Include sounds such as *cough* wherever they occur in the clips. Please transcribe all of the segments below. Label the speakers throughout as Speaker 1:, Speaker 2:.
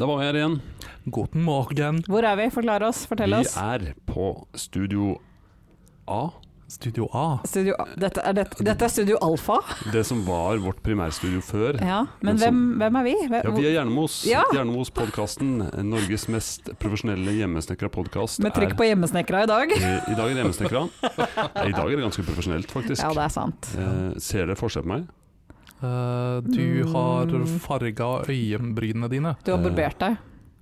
Speaker 1: Da var vi her igjen.
Speaker 2: Guten morgen.
Speaker 3: Hvor er vi? Forklar oss, fortell
Speaker 1: Vi
Speaker 3: oss.
Speaker 1: er på Studio A.
Speaker 2: Studio A.
Speaker 3: Studio, dette, er dette, dette er Studio Alfa.
Speaker 1: Det som var vårt primærstudio før.
Speaker 3: Ja,
Speaker 1: Men
Speaker 3: men
Speaker 1: så-
Speaker 3: hvem, hvem er vi? Hvem,
Speaker 1: altså. Ja, vi er Jernemos.
Speaker 3: Ja.
Speaker 1: Jernemos-podkasten. Norges mest profesjonelle hjemmesnekra podkast.
Speaker 3: med trykk på hjemmesnekra i dag.
Speaker 1: I dag er det
Speaker 3: *laughs*
Speaker 1: hjemmesnekra. I dag er det ganske profesjonelt, faktisk.
Speaker 3: Ja, det er sant.
Speaker 1: Eh, ser dere forskjell på meg?
Speaker 2: Eh, du
Speaker 3: Mm.
Speaker 2: har farga øyenbrynene dine.
Speaker 3: Du
Speaker 1: Eh.
Speaker 3: har barbert deg.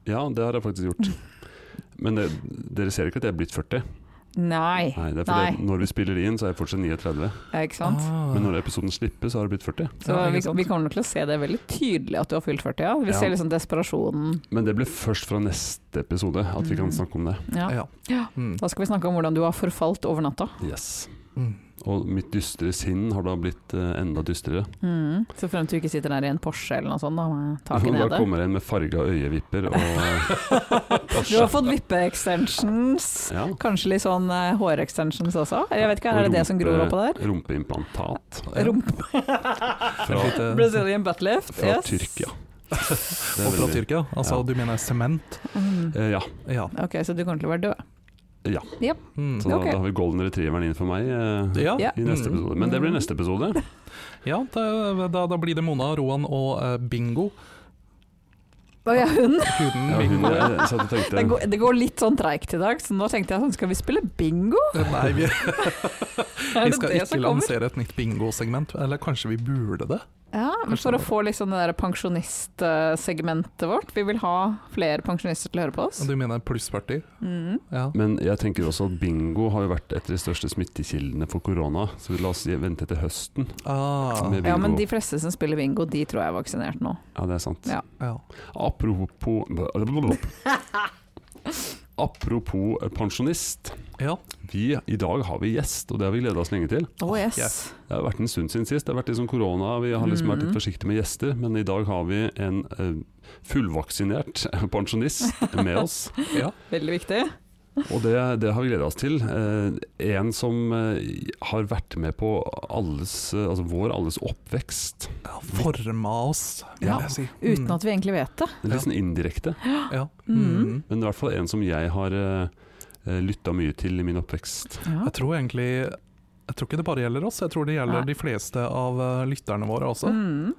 Speaker 1: Ja, det har jeg faktisk gjort. Men det, dere ser ikke at jeg er blitt 40?
Speaker 3: Nei,
Speaker 1: Nei, det er fordi
Speaker 3: Nei.
Speaker 1: Når vi spiller inn, så er jeg fortsatt 39.
Speaker 3: ja, ikke sant?
Speaker 2: Ah.
Speaker 1: Men når episoden slippes, så har jeg blitt 40.
Speaker 3: Så
Speaker 2: Ja, ikke
Speaker 3: vi,
Speaker 2: sant.
Speaker 3: vi kommer nok til å se det veldig tydelig at du har fylt 40, ja. Vi
Speaker 1: Ja.
Speaker 3: ser liksom desperasjonen.
Speaker 1: Men det blir først fra neste episode at vi kan
Speaker 3: Mm.
Speaker 1: snakke om det.
Speaker 3: Ja.
Speaker 2: Ja.
Speaker 3: Ja.
Speaker 2: Mm.
Speaker 3: Da skal vi snakke om hvordan du har forfalt over natta.
Speaker 1: Yes.
Speaker 2: Mm.
Speaker 1: Og mitt dystre sinn har da blitt eh, enda dystrere.
Speaker 3: Mm. Så frem til du ikke sitter der i en Porsche eller noe sånt, da, med
Speaker 1: *laughs* da
Speaker 3: taket nede.
Speaker 1: kommer jeg inn med farga øyevipper og
Speaker 3: *laughs* Du har fått vippe-extensions.
Speaker 1: ja,
Speaker 3: Kanskje litt sånn eh, hårextensions også? Jeg vet ikke, er det det som
Speaker 1: eh,
Speaker 3: gror oppå der?
Speaker 1: rumpeimplantat
Speaker 3: Rumpe *laughs*
Speaker 1: fra,
Speaker 2: Et lite-
Speaker 3: Brazilian butt lift.
Speaker 1: fra
Speaker 2: *laughs*
Speaker 3: yes.
Speaker 1: Tyrkia. Det er
Speaker 2: Og fra
Speaker 1: veldig-
Speaker 2: Tyrkia? Altså,
Speaker 1: Ja.
Speaker 2: du mener sement?
Speaker 3: Mm.
Speaker 1: Eh, ja,
Speaker 2: Ja.
Speaker 3: Ok, så du kommer til å være død?
Speaker 2: Mm.
Speaker 1: så da,
Speaker 3: Ok.
Speaker 1: da har vi golden retrieveren inn for meg eh,
Speaker 2: Ja.
Speaker 3: Ja.
Speaker 1: i neste
Speaker 2: Mm.
Speaker 1: episode. Men det blir neste
Speaker 3: *laughs*
Speaker 1: episode.
Speaker 2: Ja, da, da, da blir det Mona, Roan og eh, Bingo.
Speaker 3: Å ja, hun!
Speaker 2: Huden
Speaker 1: Ja, hun,
Speaker 2: Bingo.
Speaker 1: eh, så jeg
Speaker 3: Det
Speaker 1: tenkte
Speaker 3: går, det går litt sånn treigt i dag, så nå tenkte jeg sånn, skal vi spille bingo?
Speaker 2: Nei, vi, vi
Speaker 3: *laughs* Er det
Speaker 2: skal
Speaker 3: det
Speaker 2: ikke
Speaker 3: som kommer?
Speaker 2: lansere et nytt bingosegment. Eller kanskje vi burde det?
Speaker 3: Ja, men
Speaker 2: Kanskje
Speaker 3: for å
Speaker 2: det.
Speaker 3: få liksom det der pensjonistsegmentet vårt. Vi vil ha flere pensjonister til å høre på oss.
Speaker 2: Du mener plussparty?
Speaker 3: Mm.
Speaker 2: Ja.
Speaker 1: men jeg tenker også at bingo har jo vært et av de største smittekildene for korona, så la oss vente til høsten
Speaker 2: Ah,
Speaker 1: med bingo.
Speaker 3: Ja, men de fleste som spiller bingo, de tror jeg er vaksinert nå.
Speaker 1: Ja, det er sant.
Speaker 3: Ja.
Speaker 2: ja.
Speaker 1: Apropos Apropos pensjonist.
Speaker 2: ja.
Speaker 1: Vi, I dag har vi gjest, og det har vi gleda oss lenge til.
Speaker 3: Å yes.
Speaker 2: yes.
Speaker 1: Det har vært en stund siden sist. Det har vært liksom korona, vi har liksom vært litt forsiktige med gjester. Men i dag har vi en eh, fullvaksinert *laughs* pensjonist med oss.
Speaker 2: ja.
Speaker 3: Veldig viktig.
Speaker 1: Og det, det har vi gleda oss til. Eh, en som eh, har vært med på alles, eh, altså vår alles oppvekst.
Speaker 2: ja. Forma oss, vil
Speaker 1: Ja.
Speaker 2: jeg si.
Speaker 3: Uten at vi egentlig vet det.
Speaker 1: Litt sånn indirekte.
Speaker 2: Ja.
Speaker 3: Mm.
Speaker 2: Mm.
Speaker 1: Men i hvert fall en som jeg har uh, lytta mye til i min oppvekst.
Speaker 3: Ja.
Speaker 2: Jeg tror egentlig jeg tror ikke det bare gjelder oss, jeg tror det gjelder
Speaker 3: Nei.
Speaker 2: de fleste av eh, lytterne våre også.
Speaker 3: Mm.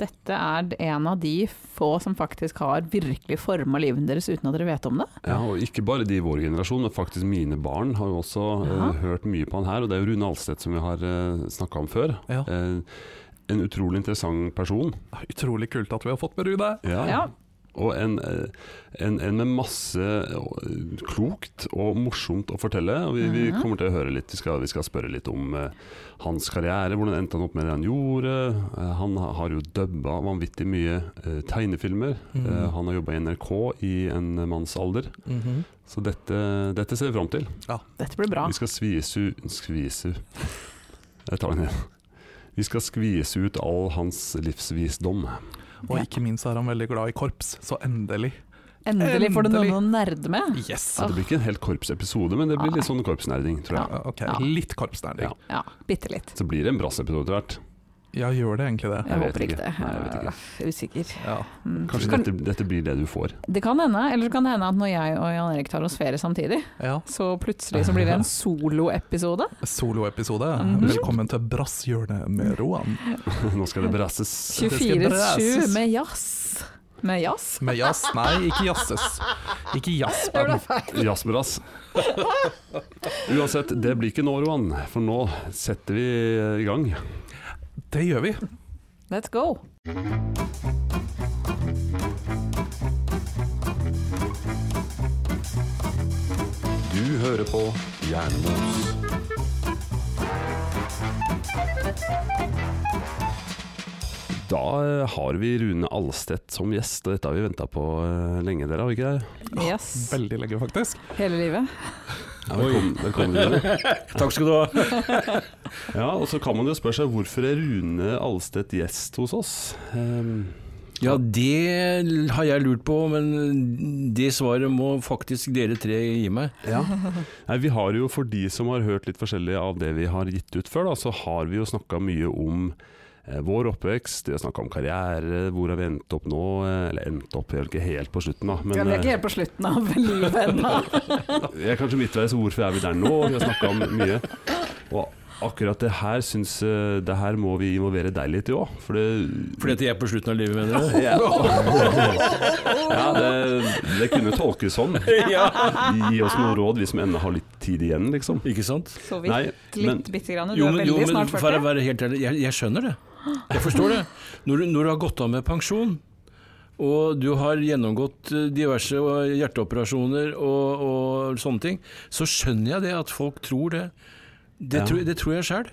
Speaker 3: Dette er en av de få som faktisk har virkelig forma livet deres uten at dere vet om det.
Speaker 1: Ja, og ikke bare de i vår generasjon, men faktisk mine barn har jo også
Speaker 3: Ja.
Speaker 1: eh, hørt mye på han her. Og det er jo Rune Alstedt som vi har uh, snakka om før.
Speaker 2: Ja.
Speaker 1: Eh, en utrolig interessant person.
Speaker 2: Utrolig kult at vi har fått med Rune.
Speaker 3: Ja.
Speaker 1: Og en, eh, en, en med masse eh, klokt og morsomt å fortelle. Og vi, vi
Speaker 3: Mhm.
Speaker 1: kommer til å høre litt. Vi skal, vi skal spørre litt om eh, hans karriere. Hvordan endte han opp med det han gjorde? Eh, han har jo dubba vanvittig mye eh, tegnefilmer.
Speaker 2: Mhm.
Speaker 1: Eh, han har jobba i NRK i en manns alder.
Speaker 2: Mhm.
Speaker 1: Så dette, dette ser vi fram til.
Speaker 3: Dette blir bra.
Speaker 1: Vi skal skvise ut Skvise ut Jeg tar den igjen. Vi skal skvise ut all hans livsvisdom.
Speaker 2: Og ikke minst er han veldig glad i korps, så endelig.
Speaker 3: Endelig får du
Speaker 2: Endelig.
Speaker 3: noen å nerde med.
Speaker 2: Yes!
Speaker 1: Så det blir ikke en hel korpsepisode, men det blir litt sånn korpsnerding, tror jeg.
Speaker 2: Ja, ok,
Speaker 3: Ja.
Speaker 2: Litt korpsnerding.
Speaker 1: Ja.
Speaker 3: Ja, bitte litt.
Speaker 1: Så blir det en brassepisode etter hvert.
Speaker 2: Ja, gjør det egentlig det?
Speaker 3: Jeg,
Speaker 1: vet
Speaker 3: håper
Speaker 1: ikke.
Speaker 3: ikke det.
Speaker 1: Nei, jeg vet ikke.
Speaker 3: Jeg er Usikker.
Speaker 2: Ja.
Speaker 3: Mm.
Speaker 1: Kanskje
Speaker 3: Kan-
Speaker 1: dette, dette blir det du får. *laughs*
Speaker 3: Det kan hende, eller så kan det hende at når jeg og Jan Erik tar oss ferie samtidig,
Speaker 2: ja.
Speaker 3: så plutselig så blir
Speaker 1: *laughs*
Speaker 3: det en soloepisode.
Speaker 2: Soloepisode.
Speaker 3: Mhm.
Speaker 2: Velkommen til Brasshjørnet med Roan.
Speaker 1: Nå skal det brasses.
Speaker 2: Det skal
Speaker 3: 24-7
Speaker 2: brases.
Speaker 3: med jazz. Med jazz?
Speaker 2: Med jazz Nei, ikke jazzes. Ikke
Speaker 3: Det ble
Speaker 2: jazzband.
Speaker 3: feil. *laughs*
Speaker 1: Jazzbrass. Uansett, det blir ikke nå, Roan, for nå setter vi i gang.
Speaker 2: Det gjør vi.
Speaker 3: Let's go.
Speaker 1: Du hører på Jernmos. Da eh, har vi Rune Alstedt som gjest, og dette har vi venta på eh, lenge, dere, har vi ikke det?
Speaker 3: Yes.
Speaker 2: Veldig lenge, faktisk.
Speaker 3: Hele livet.
Speaker 1: velkommen, velkommen Rune.
Speaker 4: Takk skal du ha.
Speaker 1: Ja, og så kan man jo spørre seg hvorfor er Rune Alstedt gjest hos oss? Ehm,
Speaker 4: Ja, det har jeg lurt på, men det svaret må faktisk dere tre gi meg.
Speaker 1: Nei, vi har jo For de som har hørt litt forskjellig av det vi har gitt ut før, da, så har vi jo snakka mye om eh, vår oppvekst, de har snakka om karriere, hvor har vi endt opp nå? eh, Eller endt opp, vi er vel ikke helt på slutten, da. Men,
Speaker 3: ja, vi er
Speaker 1: eh,
Speaker 3: ikke helt på slutten av *laughs* livet ennå.
Speaker 1: vi er kanskje midtveis, hvorfor er vi der nå? Vi har snakka om mye. Og akkurat det her syns eh, Det her må vi involvere deg litt i òg, for det
Speaker 4: Fordi
Speaker 1: *laughs*
Speaker 4: at jeg er på slutten av livet, mener *laughs* du?
Speaker 1: ja, ja det, det kunne tolkes sånn. Gi oss noen råd, vi som ennå har litt tid igjen, liksom.
Speaker 4: Ikke sant?
Speaker 3: Så vidt.
Speaker 1: Nei, men
Speaker 3: litt bitte grann. Du
Speaker 4: Jo,
Speaker 3: er
Speaker 4: men,
Speaker 3: veldig
Speaker 4: jo, men
Speaker 3: snart
Speaker 4: for å
Speaker 3: 40.
Speaker 4: være helt ærlig, jeg, jeg skjønner det. Jeg forstår det. Når du, når du har gått av med pensjon, og du har gjennomgått eh, diverse eh, hjerteoperasjoner og, og sånne ting, så skjønner jeg det at folk tror det. Det,
Speaker 1: Ja.
Speaker 4: tror, det tror jeg sjøl.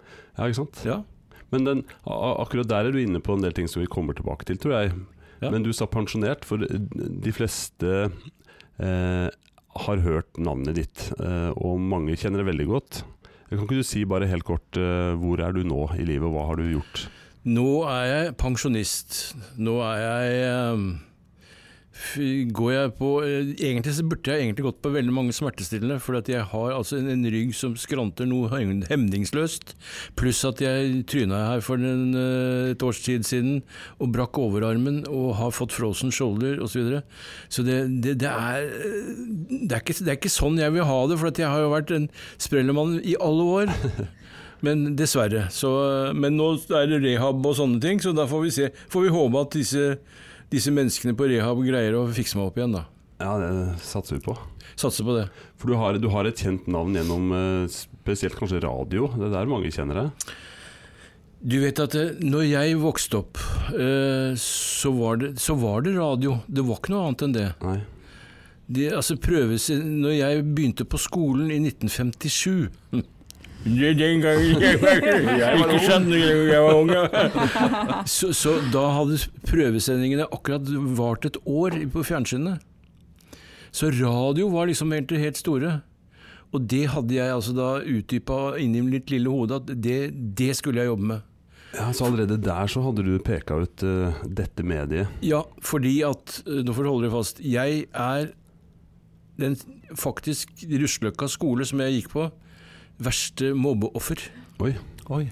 Speaker 1: ja, ikke sant?
Speaker 4: Ja.
Speaker 1: Men den, a- akkurat der er du inne på en del ting som vi kommer tilbake til, tror jeg.
Speaker 4: Ja.
Speaker 1: Men du sa pensjonert, for eh, de fleste eh, har hørt navnet ditt, eh, og mange kjenner det veldig godt. Kan ikke du si bare helt kort eh, hvor er du nå i livet, og hva har du gjort?
Speaker 4: Nå er jeg pensjonist. Nå er jeg eh, fy- Går jeg på eh, Egentlig så burde jeg egentlig gått på veldig mange smertestillende, for at jeg har altså en, en rygg som skranter noe hem- hemningsløst. Pluss at jeg tryna her for en, eh, et års tid siden og brakk overarmen og har fått frozen shoulder osv. Så, videre. så det, det, det, er, eh, det, er ikke, det er ikke sånn jeg vil ha det, for at jeg har jo vært en sprellemann i alle år. Men dessverre. Så, men nå er det rehab og sånne ting, så da får vi, se, får vi håpe at disse, disse menneskene på rehab greier å fikse meg opp igjen, da.
Speaker 1: Ja, det satser vi på.
Speaker 4: Satser på det.
Speaker 1: For du har, du har et kjent navn gjennom eh, spesielt kanskje radio, det er der mange kjenner deg.
Speaker 4: Du vet at eh, når jeg vokste opp, eh, så var, det, så var det radio. Det var ikke noe annet enn det.
Speaker 1: Nei.
Speaker 4: det altså prøves, når jeg begynte på skolen i 1957 *laughs* Det er Den gangen jeg var, ikke sant, jeg var ung. ja. *laughs* Så, så da hadde prøvesendingene akkurat vart et år på fjernsynet. Så radio var liksom helt, helt store. Og det hadde jeg altså da utdypa inni mitt lille hode at det, det skulle jeg jobbe med.
Speaker 1: Ja, så allerede der så hadde du peka ut eh, dette mediet.
Speaker 4: Ja, fordi at eh, Nå får du holde deg fast. Jeg er den faktisk Russløkka skole som jeg gikk på, verste mobbeoffer.
Speaker 1: Oi,
Speaker 2: Oi.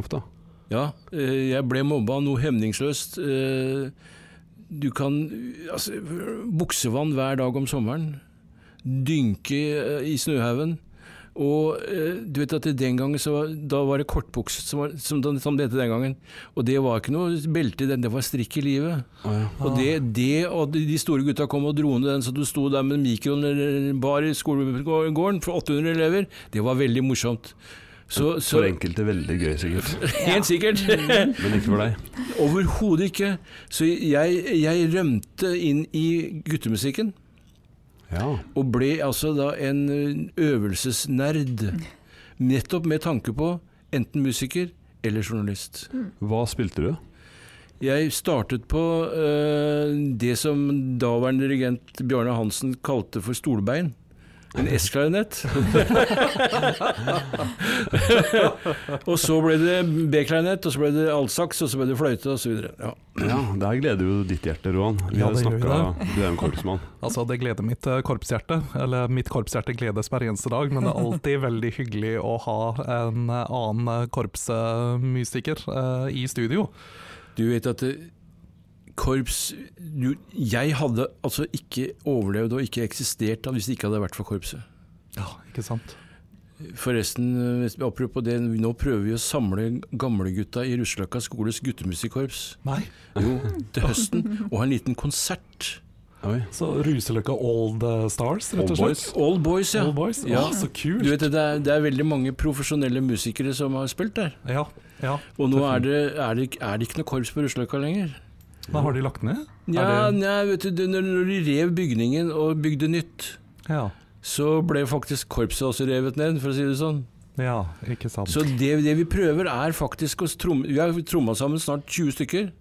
Speaker 1: uff da.
Speaker 4: Ja, eh, jeg ble mobba noe hemningsløst. Eh, Du kan eh, altså, Buksevann hver dag om sommeren. Dynke eh, i snøhaugen. Og eh, du vet at det den gangen så var, da var det kortbukse som, var, som, som det het den gangen. Og det var ikke noe belte i den, det var strikk i livet.
Speaker 1: Å ja.
Speaker 4: Og det, det og de de store gutta kom og dro ned den, så du sto der med mikroen eller bar i skolegården for 800 elever, det var veldig morsomt. Så, så
Speaker 1: For enkelte veldig gøy, *laughs* sikkert.
Speaker 4: *laughs* helt sikkert.
Speaker 1: Men ikke for deg.
Speaker 4: Overhodet ikke. Så jeg, jeg rømte inn i guttemusikken,
Speaker 1: Ja.
Speaker 4: og ble altså da en øvelsesnerd. Nettopp med tanke på enten musiker eller journalist.
Speaker 1: Hva spilte du?
Speaker 4: Jeg startet på eh, det som daværende dirigent Bjarne Hansen kalte for stolbein. En S-klarinett. *laughs* og så ble det B-klarinett, og så ble det altsaks, og så ble det fløyte osv. Ja.
Speaker 1: Ja, Der gleder jo ditt hjerte, Roan. Vi
Speaker 2: Ja,
Speaker 1: har
Speaker 2: det gjør
Speaker 1: snakka Du er en korpsmann.
Speaker 2: Altså, det gleder mitt eh, korpshjerte. Eller mitt korpshjerte gledes hver eneste dag, men det er *laughs* alltid veldig hyggelig å ha en eh, annen eh, korpsmusiker eh, i studio.
Speaker 4: Du vet at eh, korps du, Jeg hadde altså ikke overlevd og ikke eksistert da hvis det ikke hadde vært for korpset.
Speaker 2: Ja, ikke sant?
Speaker 4: Forresten, eh, apropos det, nå prøver vi å samle gamlegutta i Russeløkka skoles guttemusikkorps.
Speaker 2: Nei.
Speaker 4: Jo, til høsten. Og ha en liten konsert.
Speaker 1: *laughs* Oi.
Speaker 2: Så Ruseløkka Old eh, Stars, rett
Speaker 1: Old
Speaker 2: og slett.
Speaker 1: Boys.
Speaker 4: All Boys, ja.
Speaker 2: Old Boys?
Speaker 4: Ja.
Speaker 2: Å, så
Speaker 4: Du
Speaker 2: kult!
Speaker 4: vet, det, er, det er veldig mange profesjonelle musikere som har spilt der.
Speaker 2: Ja, ja.
Speaker 4: Og nå er det, er det, ikke- er det ikke noe korps på Russeløkka lenger.
Speaker 2: Da har de lagt ned?
Speaker 4: Ja,
Speaker 2: Er det-
Speaker 4: nei, vet du, det- når når de rev bygningen og bygde nytt,
Speaker 2: Ja.
Speaker 4: så ble faktisk korpset også revet ned, for å si det sånn.
Speaker 2: ja ikke sant.
Speaker 4: Så det, det vi prøver er faktisk å tromme Vi har tromma sammen snart 20 stykker,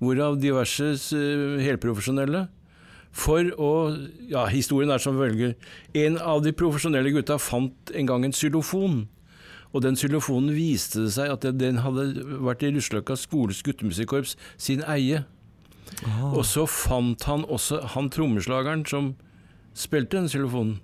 Speaker 4: hvorav diverse eh, helprofesjonelle. For å Ja, historien er som følger. En av de profesjonelle gutta fant en gang en xylofon. Og den xylofonen viste det seg at den- den hadde vært i Russeløkka skoles guttemusikkorps sin eie.
Speaker 2: Ah.
Speaker 4: Og så fant han også han trommeslageren som spilte den xylofonen.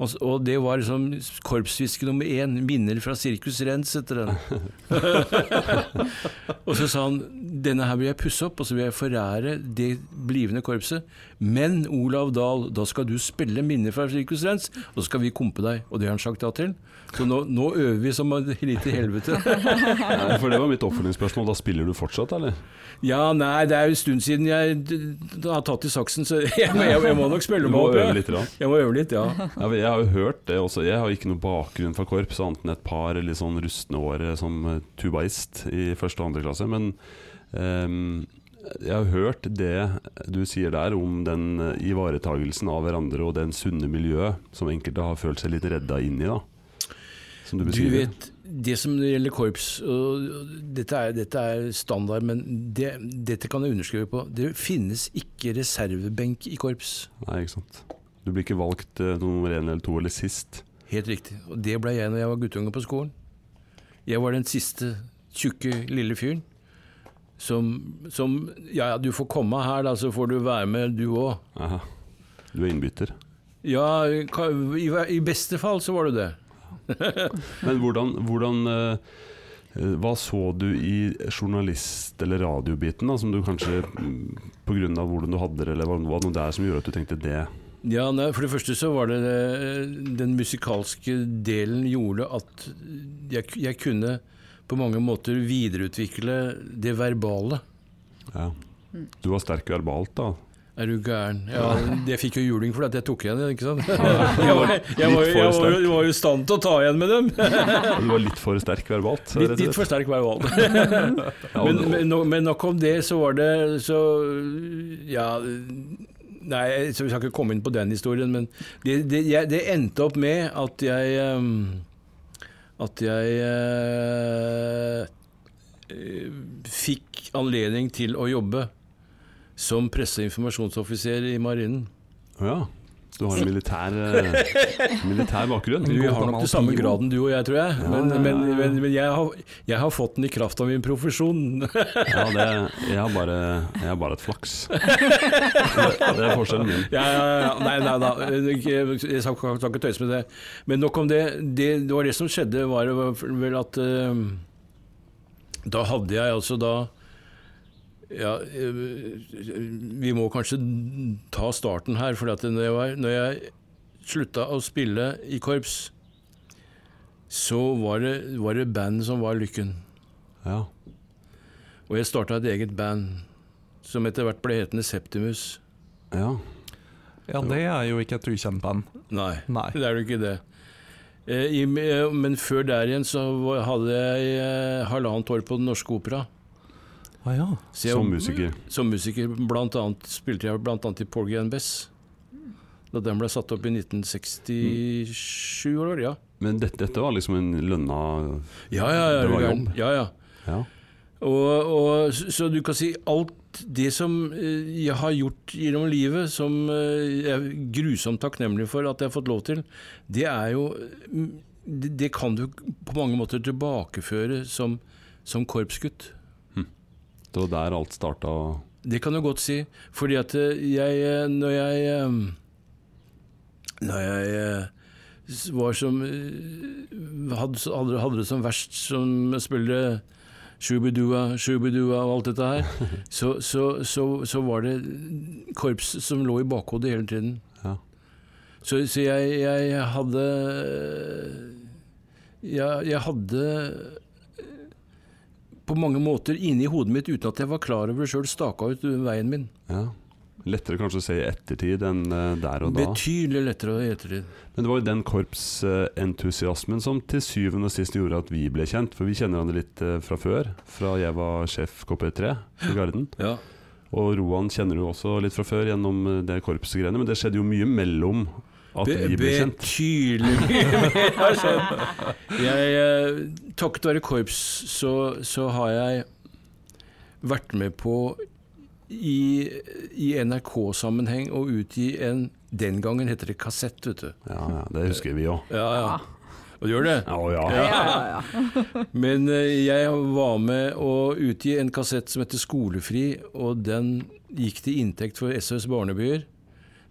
Speaker 4: Og, s- og det var liksom korpsfiske nummer én, minner fra Sirkus Rens etter den. og så sa han denne her vil jeg pusse opp, og så vil jeg forære det blivende korpset. Men Olav Dahl, da skal du spille minner fra Sirkus Rens, og så skal vi kompe deg. Og det har han sagt ja til. Så nå, nå øver vi som et lite helvete.
Speaker 1: Nei, for det var mitt oppfølgingsspørsmål. Da spiller du fortsatt, eller?
Speaker 4: Ja, nei, det er jo en stund siden jeg d- d- har tatt i saksen, så *laughs* jeg, må- jeg, jeg må nok
Speaker 1: Du
Speaker 4: spille meg
Speaker 1: må
Speaker 4: opp.
Speaker 1: øve
Speaker 4: ja.
Speaker 1: litt. Rann.
Speaker 4: Jeg må øve litt, ja.
Speaker 1: Ja, men jeg har jo hørt det også. Jeg har ikke noe bakgrunn fra korps, annet enn et par litt sånn rustne år eh, som eh, tubaist i første og andre klasse. Men ehm, jeg har hørt det du sier der om den eh, ivaretagelsen av hverandre og den sunne miljøet som enkelte har følt seg litt redda inn i, da. Som du
Speaker 4: Du
Speaker 1: beskriver.
Speaker 4: vet, det som gjelder korps, og og dette er, dette er standard, men det, dette kan jeg underskrive på. Det finnes ikke reservebenk i korps.
Speaker 1: Nei, ikke sant. Du blir ikke valgt eh, nummer én eller to eller sist.
Speaker 4: Helt riktig. Og det ble jeg når jeg var guttunge på skolen. Jeg var den siste tjukke lille fyren som, som Ja, ja, du får komme her, da, så får du være med, du òg.
Speaker 1: Aha. Du er innbytter.
Speaker 4: Ja, ka- i, i beste fall så var du det.
Speaker 1: Men hvordan, hvordan eh, eh, Hva så du i journalist- eller radiobiten, da, som du kanskje mm, pga. hvordan du hadde det, eller var var det noe der som gjorde at du tenkte det?
Speaker 4: Ja, nei, For det første så var det eh, den musikalske delen gjorde at jeg, jeg kunne på mange måter videreutvikle det verbale.
Speaker 1: Ja. Du var sterk verbalt, da.
Speaker 4: Er du gæren? Ja, jeg fikk jo juling for at jeg tok igjen, ikke sant? Jeg var, jeg var, jeg var, jeg var jo i stand til å ta igjen med dem.
Speaker 1: Du var litt for sterk verbalt. rett
Speaker 4: Litt,
Speaker 1: og
Speaker 4: litt
Speaker 1: slett.
Speaker 4: for sterk verbal.
Speaker 1: *laughs* Ja,
Speaker 4: men,
Speaker 1: og-
Speaker 4: men, no- men nok om det, så var det så Ja. Nei, så vi skal ikke komme inn på den historien, men det, det, jeg, det endte opp med at jeg ehm, At jeg eh, eh, fikk anledning til å jobbe som presse- og informasjonsoffiser i Marinen.
Speaker 1: ja. Så du har en militær, eh, militær bakgrunn.
Speaker 4: Du
Speaker 2: God
Speaker 4: har nok
Speaker 2: gammel
Speaker 4: den samme
Speaker 2: pio.
Speaker 4: graden du og jeg, tror jeg.
Speaker 1: Ja,
Speaker 4: Men,
Speaker 1: ja, ja,
Speaker 4: men,
Speaker 1: ja.
Speaker 4: men, men jeg, har, jeg har fått den i kraft av min profesjon.
Speaker 1: Ja, det, jeg har bare, jeg har bare et flaks. Det, det er forskjellen min.
Speaker 4: Ja, ja, ja. Nei, nei da. Jeg jeg skal ikke- skal ikke tøyse med det. Men nok om det. Det, det var det som skjedde, var det vel at eh, Da hadde jeg altså da ja, eh, Vi må kanskje ta starten her. For at når, jeg var, når jeg slutta å spille i korps, så var det, var det band som var lykken.
Speaker 1: Ja.
Speaker 4: Og jeg starta et eget band som etter hvert ble hetende Septimus.
Speaker 1: ja.
Speaker 2: Ja, det er jo ikke et ukjent band.
Speaker 4: Nei.
Speaker 2: Nei.
Speaker 4: Det er jo ikke det. Eh, i, eh, men før der igjen så var- hadde jeg eh, halvannet år på Den norske opera.
Speaker 2: Ah, ja.
Speaker 4: Så jeg-
Speaker 1: Som musiker.
Speaker 4: Som musiker blant annet, spilte jeg bl.a. i Porgy and Bess. Da den ble satt opp i 1967 år, ja.
Speaker 1: Men dette, dette var liksom en lønna
Speaker 4: Ja, ja, ja.
Speaker 1: Det var
Speaker 4: er du
Speaker 1: jobb.
Speaker 4: gæren. Eh, Ja, ja.
Speaker 1: Ja.
Speaker 4: Og, og, så så du kan si alt det som eh, jeg har gjort gjennom livet, som eh, jeg er grusomt takknemlig for at jeg har fått lov til, det er jo mm, Det, det kan du på mange måter tilbakeføre som, som korpsgutt.
Speaker 1: Det var der alt starta. og-
Speaker 4: Det kan du godt si. Fordi at eh, jeg eh, Når jeg eh, Når jeg eh, s- var som eh, Hadde, hadde, hadde det som verst som spiller Shubidua, Shubidua og alt dette her, så, så, så, så var det korps som lå i bakhodet hele tiden.
Speaker 1: Ja.
Speaker 4: Så, så jeg, jeg hadde jeg, jeg hadde på mange måter inni hodet mitt, uten at jeg var klar over det sjøl, staka ut veien min.
Speaker 1: Ja. Lettere kanskje å se i ettertid enn eh, der og da.
Speaker 4: Betydelig lettere å etere.
Speaker 1: Men det var jo den korpsentusiasmen som til syvende og sist gjorde at vi ble kjent. For vi kjenner hverandre litt eh, fra før, fra jeg var sjef KP3 i Garden.
Speaker 4: Ja.
Speaker 1: Og Roan kjenner du også litt fra før gjennom eh, det korpsgreiene, men det skjedde jo mye mellom at vi ble kjent. *laughs*
Speaker 4: Betydelig mye mer har skjedd. Jeg, eh, takket være korps så, så har jeg vært med på i, i NRK-sammenheng å utgi en Den gangen heter det kassett, vet du.
Speaker 1: Ja, ja, det husker vi òg.
Speaker 4: Ja, ja. Og du gjør det?
Speaker 1: Å ja.
Speaker 3: Ja, ja, ja.
Speaker 4: Men eh, jeg var med å utgi en kassett som heter Skolefri, og den gikk til inntekt for SOS Barnebyer.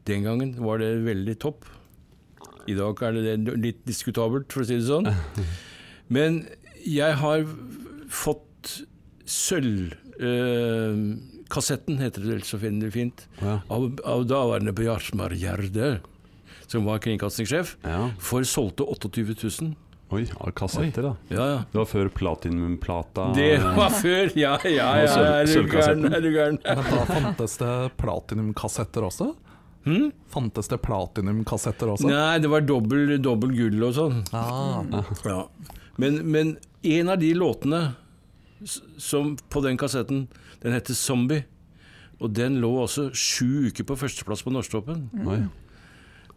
Speaker 4: Den gangen var det veldig topp. I dag er det det litt diskutabelt, for å si det sånn. Men jeg har fått sølvkassetten, heter det vel så fin- fint,
Speaker 1: Ja.
Speaker 4: av, av daværende Bjartmar Gjerde, som var kringkastingssjef,
Speaker 1: ja.
Speaker 4: for solgte 28 000.
Speaker 1: Oi, av kassetter, da.
Speaker 4: Ja, ja.
Speaker 1: Det var før platinumplata
Speaker 4: Det var før! Ja, ja,
Speaker 1: Og
Speaker 4: ja.
Speaker 1: sølv-
Speaker 4: Er du gæren?
Speaker 1: sølvkassetten.
Speaker 4: Er du gæren?
Speaker 2: Men da fantes det platinumkassetter også?
Speaker 4: Hm?
Speaker 2: Fantes det platinumkassetter også?
Speaker 4: Nei, det var dobbel, dobbel gull og sånn.
Speaker 2: Ah,
Speaker 4: Ja. Men, men en av de låtene s- som på den kassetten, den heter 'Zombie'. Og den lå også sju uker på førsteplass på Norsktoppen.
Speaker 1: Oi.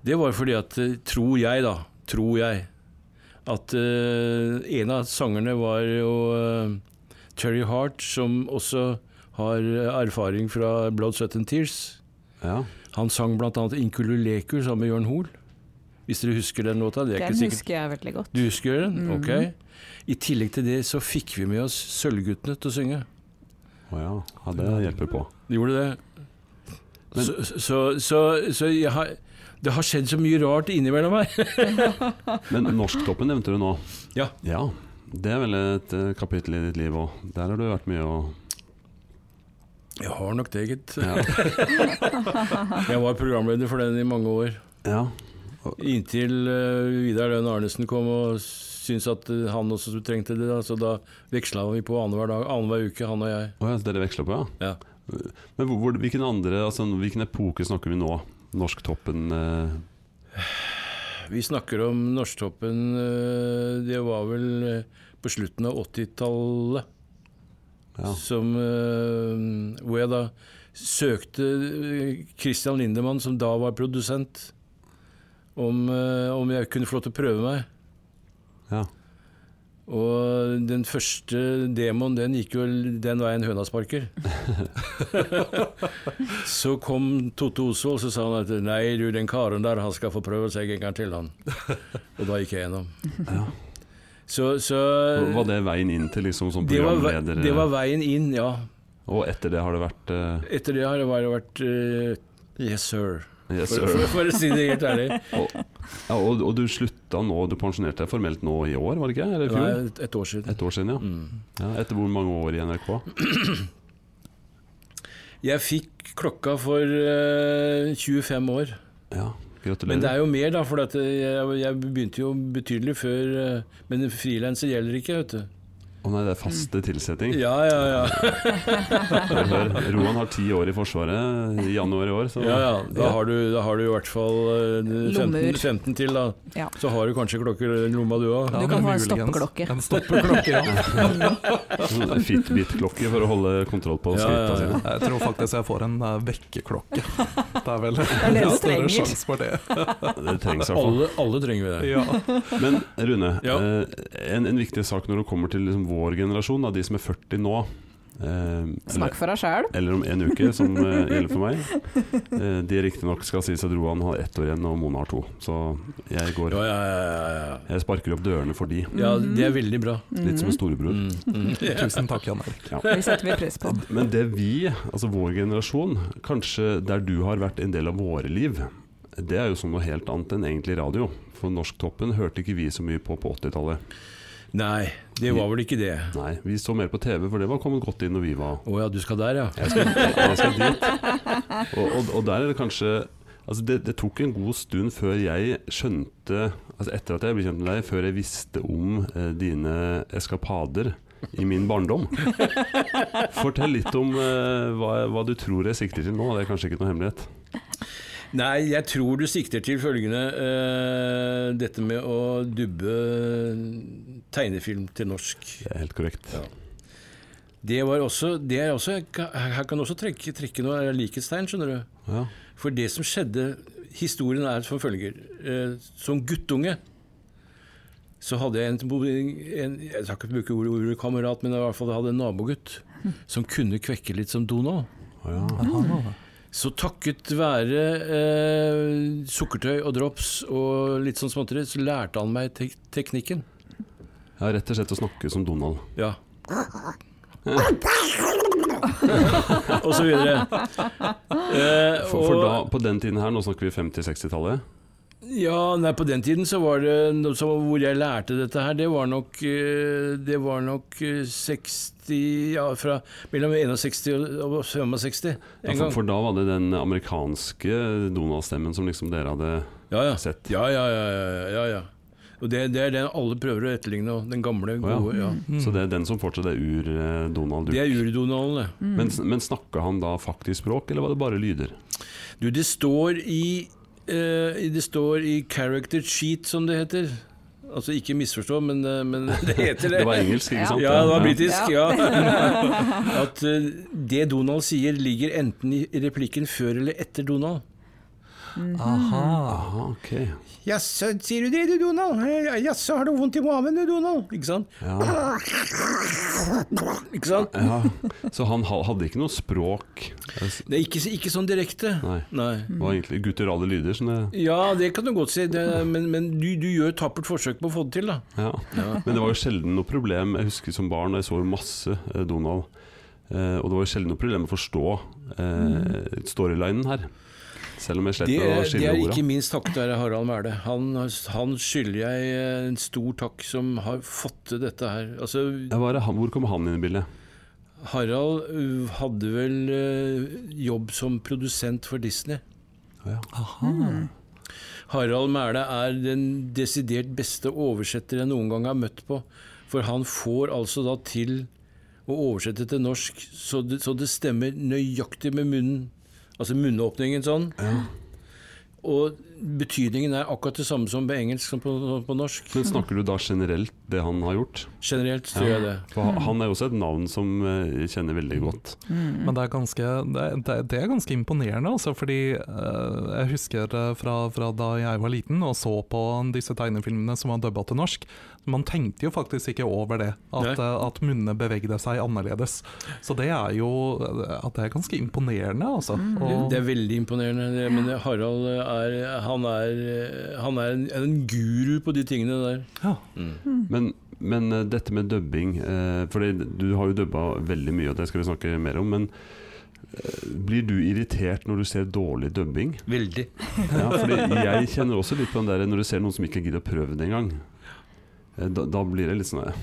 Speaker 4: Det var fordi at, eh, tror jeg da, tror jeg, at eh, en av sangerne var jo eh, Terry Hart, som også har eh, erfaring fra Blood, Sweat and Tears.
Speaker 1: Ja.
Speaker 4: Han sang bl.a. 'Inkululeku' sammen med Jørn Hoel. Hvis dere husker den låta? Det er ikke
Speaker 3: Den
Speaker 4: sikkert
Speaker 3: husker jeg veldig godt.
Speaker 4: du husker den?
Speaker 3: Mhm.
Speaker 4: Ok. I tillegg til det så fikk vi med oss Sølvguttene til å synge.
Speaker 1: Å ja. ja, det hjelper på.
Speaker 4: De gjorde det.
Speaker 1: Men-
Speaker 4: Så, så, så, så jeg har, det har skjedd så mye rart innimellom her. *laughs*
Speaker 1: Men Norsktoppen nevnte du nå.
Speaker 4: Ja.
Speaker 1: Det er vel et eh, kapittel i ditt liv òg. Der har du vært mye å
Speaker 4: Jeg har nok det, gitt.
Speaker 1: ja.
Speaker 4: *laughs* Jeg var programleder for den i mange år.
Speaker 1: ja.
Speaker 4: Inntil eh, Vidar Lønn Arnesen kom og syntes at eh, han også trengte det. Da, så da veksla vi på annenhver dag, annenhver uke, han og jeg.
Speaker 1: Å ja, så dere veksler på, ja?
Speaker 4: Ja.
Speaker 1: Men hvor, hvor, hvilken andre altså, Hvilken epoke snakker vi nå? Norsktoppen eh,
Speaker 4: Vi snakker om Norsktoppen, eh, det var vel eh, på slutten av 80-tallet.
Speaker 1: ja.
Speaker 4: som, eh, hvor jeg da søkte eh, Christian Lindemann, som da var produsent, om, eh, om jeg kunne få lov til å prøve meg.
Speaker 1: ja.
Speaker 4: Og den første demoen, den gikk jo den veien høna
Speaker 1: *laughs*
Speaker 4: sparker. så kom Totte Osvold, så sa han at nei, du, den karen der, han skal få prøve seg en gang til,
Speaker 1: *laughs*
Speaker 4: han. Og da gikk jeg gjennom.
Speaker 1: Ja.
Speaker 4: Så, så
Speaker 1: Var- Var det veien inn til liksom som
Speaker 4: det var, ve-
Speaker 1: programleder? eh,
Speaker 4: det var veien inn, ja.
Speaker 1: Og etter det har det vært eh,
Speaker 4: Etter det har det bare vært eh, Yes, sir.
Speaker 1: Yes,
Speaker 4: For,
Speaker 1: sir.
Speaker 4: for, for å si det helt ærlig.
Speaker 1: Og, ja, og, og du slutta nå, du pensjonerte deg formelt nå i år, var *laughs* det ikke? Eller i
Speaker 4: Det
Speaker 1: fjor?
Speaker 4: er et år siden.
Speaker 1: Et år siden, ja.
Speaker 4: Mm.
Speaker 1: ja. Etter hvor mange år i NRK?
Speaker 4: Jeg fikk klokka for eh, 25 år.
Speaker 1: Ja, gratulerer.
Speaker 4: Men det er jo mer, da, for at jeg, jeg begynte jo betydelig før eh, Men frilanser gjelder ikke, vet du.
Speaker 1: Å nei, det er faste tilsetting.
Speaker 4: Ja, ja, *laughs* ja.
Speaker 1: Hør, hør, Roan har ti år i Forsvaret i januar i år, så
Speaker 4: ja, ja. Da, har du, da har du i hvert fall eh, 15,
Speaker 3: Lommer.
Speaker 4: 15 til, da.
Speaker 3: Ja.
Speaker 4: Så har du kanskje klokker i lomma, du
Speaker 3: Du
Speaker 4: òg.
Speaker 2: ja, men
Speaker 3: kan få en
Speaker 2: muligens.
Speaker 3: stoppeklokke.
Speaker 2: En stoppeklokke,
Speaker 3: *laughs*
Speaker 2: ja.
Speaker 1: Sånn Fitbit-klokke for å holde kontroll på
Speaker 4: Ja, ja,
Speaker 1: skrittene
Speaker 4: ja.
Speaker 1: sine.
Speaker 2: Jeg tror faktisk jeg får en eh,
Speaker 3: *laughs*
Speaker 2: vekkerklokke. Det er vel
Speaker 3: er det du
Speaker 2: større
Speaker 3: trenger.
Speaker 2: sjanse for det.
Speaker 1: Det trengs i hvert fall.
Speaker 4: Alle, alle trenger vi det.
Speaker 2: Ja.
Speaker 1: Men Rune,
Speaker 4: Ja.
Speaker 1: eh, en, en viktig sak når det kommer til liksom vår generasjon, da, de som er 40 nå eh, eller,
Speaker 3: Snakk for deg sjæl.
Speaker 1: eller om en uke, som eh, gjelder for meg. Eh, de riktignok skal sies at Roan har ett år igjen og Mona har to, så jeg går
Speaker 4: Ja, ja, ja, ja, ja.
Speaker 1: Jeg sparker opp dørene for de,
Speaker 4: ja, det er veldig bra.
Speaker 1: litt
Speaker 3: Mhm.
Speaker 1: som en storebror.
Speaker 4: Mm, mm.
Speaker 2: Tusen takk, Jan Erik.
Speaker 3: Det setter vi pris på.
Speaker 1: Men det vi, altså vår generasjon, kanskje der du har vært en del av våre liv, det er jo som noe helt annet enn egentlig radio. For Norsktoppen hørte ikke vi så mye på på 80-tallet.
Speaker 4: Nei, det var vel ikke det.
Speaker 1: Nei, vi så mer på TV, for det var kommet godt inn når vi var
Speaker 4: Å ja, du skal der, ja.
Speaker 1: Jeg skal, jeg skal dit. Og, og, og der er det kanskje Altså det, det tok en god stund før jeg skjønte altså Etter at jeg ble kjent med deg, før jeg visste om eh, dine eskapader i min barndom. Fortell litt om eh, hva, hva du tror jeg sikter til nå. Det er kanskje ikke noe hemmelighet.
Speaker 4: Nei, jeg tror du sikter til følgende eh, Dette med å dubbe tegnefilm til norsk.
Speaker 1: Det er helt korrekt.
Speaker 4: Ja. Det var også, det er også Her kan du også trekke, trekke noe likhetstegn, skjønner du.
Speaker 1: Ja.
Speaker 4: For det som skjedde Historien er som følger. Eh, som guttunge så hadde jeg en, en Jeg skal ikke bruke ordet, ordet kamerat, men jeg i hvert fall hadde en nabogutt som kunne kvekke litt som Donald.
Speaker 1: Å ja.
Speaker 4: Så takket være eh, sukkertøy og drops og litt sånn småtteri, så lærte han meg tek teknikken.
Speaker 1: ja, rett og slett å snakke som Donald.
Speaker 4: Ja. *laughs* og så videre. Eh,
Speaker 1: For, for da,
Speaker 4: og-
Speaker 1: på den tiden her, nå snakker vi 50-60-tallet,
Speaker 4: Ja, nei, på den tiden så var det no- så Hvor jeg lærte dette her, det var nok eh, Det var nok eh, 60 Ja, fra mellom 61 og og 65
Speaker 1: Ja,
Speaker 4: en
Speaker 1: for,
Speaker 4: gang.
Speaker 1: for da var det den amerikanske Donald-stemmen som liksom dere hadde
Speaker 4: Ja, ja.
Speaker 1: sett.
Speaker 4: Ja, ja, ja. ja, ja, ja. Og det, det er den alle prøver å etterligne, og den gamle,
Speaker 1: ja. Mm.
Speaker 4: gode. ja.
Speaker 1: Så det er den som fortsatt er ur-Donald
Speaker 4: Mm. Det
Speaker 1: Duck.
Speaker 4: er Mm. urdonalen, det.
Speaker 1: Men, men snakka han da faktisk språk, eller var det bare lyder?
Speaker 4: Du, det står i eh, Det står i character sheet, som det heter. Altså ikke misforstå, men, eh, men *laughs* det heter det.
Speaker 1: Det var engelsk,
Speaker 3: Ja.
Speaker 1: ikke sant?
Speaker 4: Ja, det var britisk.
Speaker 3: Ja.
Speaker 4: Ja. At eh, det Donald sier, ligger enten i replikken før eller etter Donald.
Speaker 2: Aha.
Speaker 1: Aha, ok.
Speaker 4: Jaså, sier du det, du, Donald? Eh, Jaså, har du vondt i maven, du, Donald? Ikke sant?
Speaker 1: Ja.
Speaker 4: Ikke sant?
Speaker 1: ja. Så han ha- hadde ikke noe språk? Det
Speaker 4: Det er ikke, ikke sånn direkte.
Speaker 1: Nei.
Speaker 4: Nei.
Speaker 1: var egentlig gutturale lyder. Som det,
Speaker 4: Ja, det kan du godt si, det, men, men du, du gjør et tappert forsøk på å få det til, da.
Speaker 1: ja. Men det var jo sjelden noe problem. Jeg husker som barn, og jeg så jo masse eh, Donald. Eh, og det var jo sjelden noe problem å forstå eh, storylinen her. Selv om jeg
Speaker 4: Mm. Det,
Speaker 1: slipper å
Speaker 4: det
Speaker 1: skille
Speaker 4: er
Speaker 1: orda.
Speaker 4: ikke minst takket være Harald Mæhle. Han, han skylder jeg eh, en stor takk som har fått til dette her. Altså,
Speaker 1: Ja, hva er det han- Hvor kom han inn i bildet?
Speaker 4: Harald ø, hadde vel ø, jobb som produsent for Disney.
Speaker 1: Ja.
Speaker 3: Hmm.
Speaker 4: Harald Mæhle er den desidert beste oversetter jeg noen gang har møtt på. For han får altså da til å oversette til norsk så det, så det stemmer nøyaktig med munnen. Altså munnåpningen sånn. Og betydningen er akkurat det samme som på engelsk som på, på norsk.
Speaker 1: Men snakker du da generelt det han har gjort?
Speaker 4: Generelt tror jeg det.
Speaker 1: For ha- han er jo også et navn som eh, jeg kjenner veldig godt.
Speaker 2: Men det er ganske, det er, det er- det er ganske imponerende, altså, fordi eh, jeg husker eh, fra, fra da jeg var liten og så på disse tegnefilmene som var dubba til norsk, man tenkte jo faktisk ikke over det, at,
Speaker 4: Nei.
Speaker 2: eh, at munnene bevegde seg annerledes. Så det er jo eh, at det er ganske imponerende, altså. Og,
Speaker 4: Det er veldig imponerende. Det, men Harald er, han er, han er en, en guru på de tingene der.
Speaker 2: ja.
Speaker 1: Men, men eh, dette med dubbing eh, For du har jo dubba veldig mye, og det skal vi snakke mer om. Men eh, blir du irritert når du ser dårlig *laughs* dubbing?
Speaker 4: Veldig.
Speaker 1: Ja, fordi jeg kjenner også litt på den der når du ser noen som ikke gidder å prøve det engang. Eh, Da, da blir det litt sånn eh,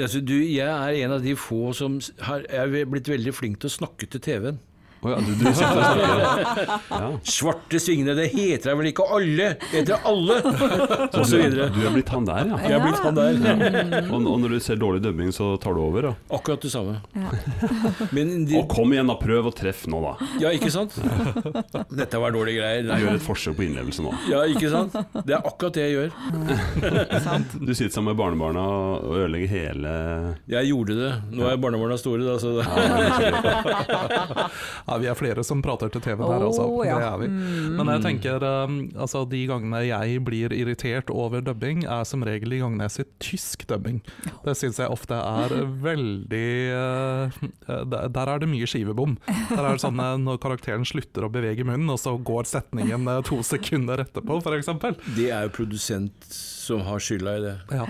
Speaker 4: Altså, du, jeg er en av de få som s- har, jeg er blitt veldig flink til å snakke til TV-en.
Speaker 1: Å ja, du, du sitter og snakker. *laughs*
Speaker 4: Svarte svingene, det heter jeg vel ikke alle? Det heter alle!
Speaker 1: Så du, du er blitt han der, ja.
Speaker 4: *laughs* Jeg er blitt han der.
Speaker 1: Og, og når du ser dårlig dubbing, så tar du over, da.
Speaker 4: Akkurat det samme.
Speaker 3: Ja.
Speaker 4: *laughs* Men de,
Speaker 1: Og kom igjen, da. Prøv å treff nå, *laughs* da.
Speaker 4: ja, ikke sant? Dette var dårlige greier.
Speaker 1: Gjør
Speaker 4: Nei.
Speaker 1: et forsøk på innlevelse nå.
Speaker 4: Ja, ikke sant? Det er akkurat det jeg gjør.
Speaker 1: Du sitter sammen med barnebarna og ødelegger hele
Speaker 4: *laughs* Jeg gjorde det. Nå er barnebarna store, da, så det.
Speaker 2: Ja, vi er flere som prater til TV der, altså.
Speaker 3: Mm. Å, ja. Mm.
Speaker 2: Det er vi. Men jeg tenker, um, altså de gangene jeg blir irritert over dubbing, er som regel de gangene jeg ser tysk dubbing. Det syns jeg ofte er veldig uh, der- Der er det mye skivebom. Der er det sånn eh, når karakteren slutter å bevege munnen, og så går setningen eh, to sekunder etterpå, f.eks.
Speaker 4: Det er jo produsent som har skylda i det.
Speaker 2: Ja.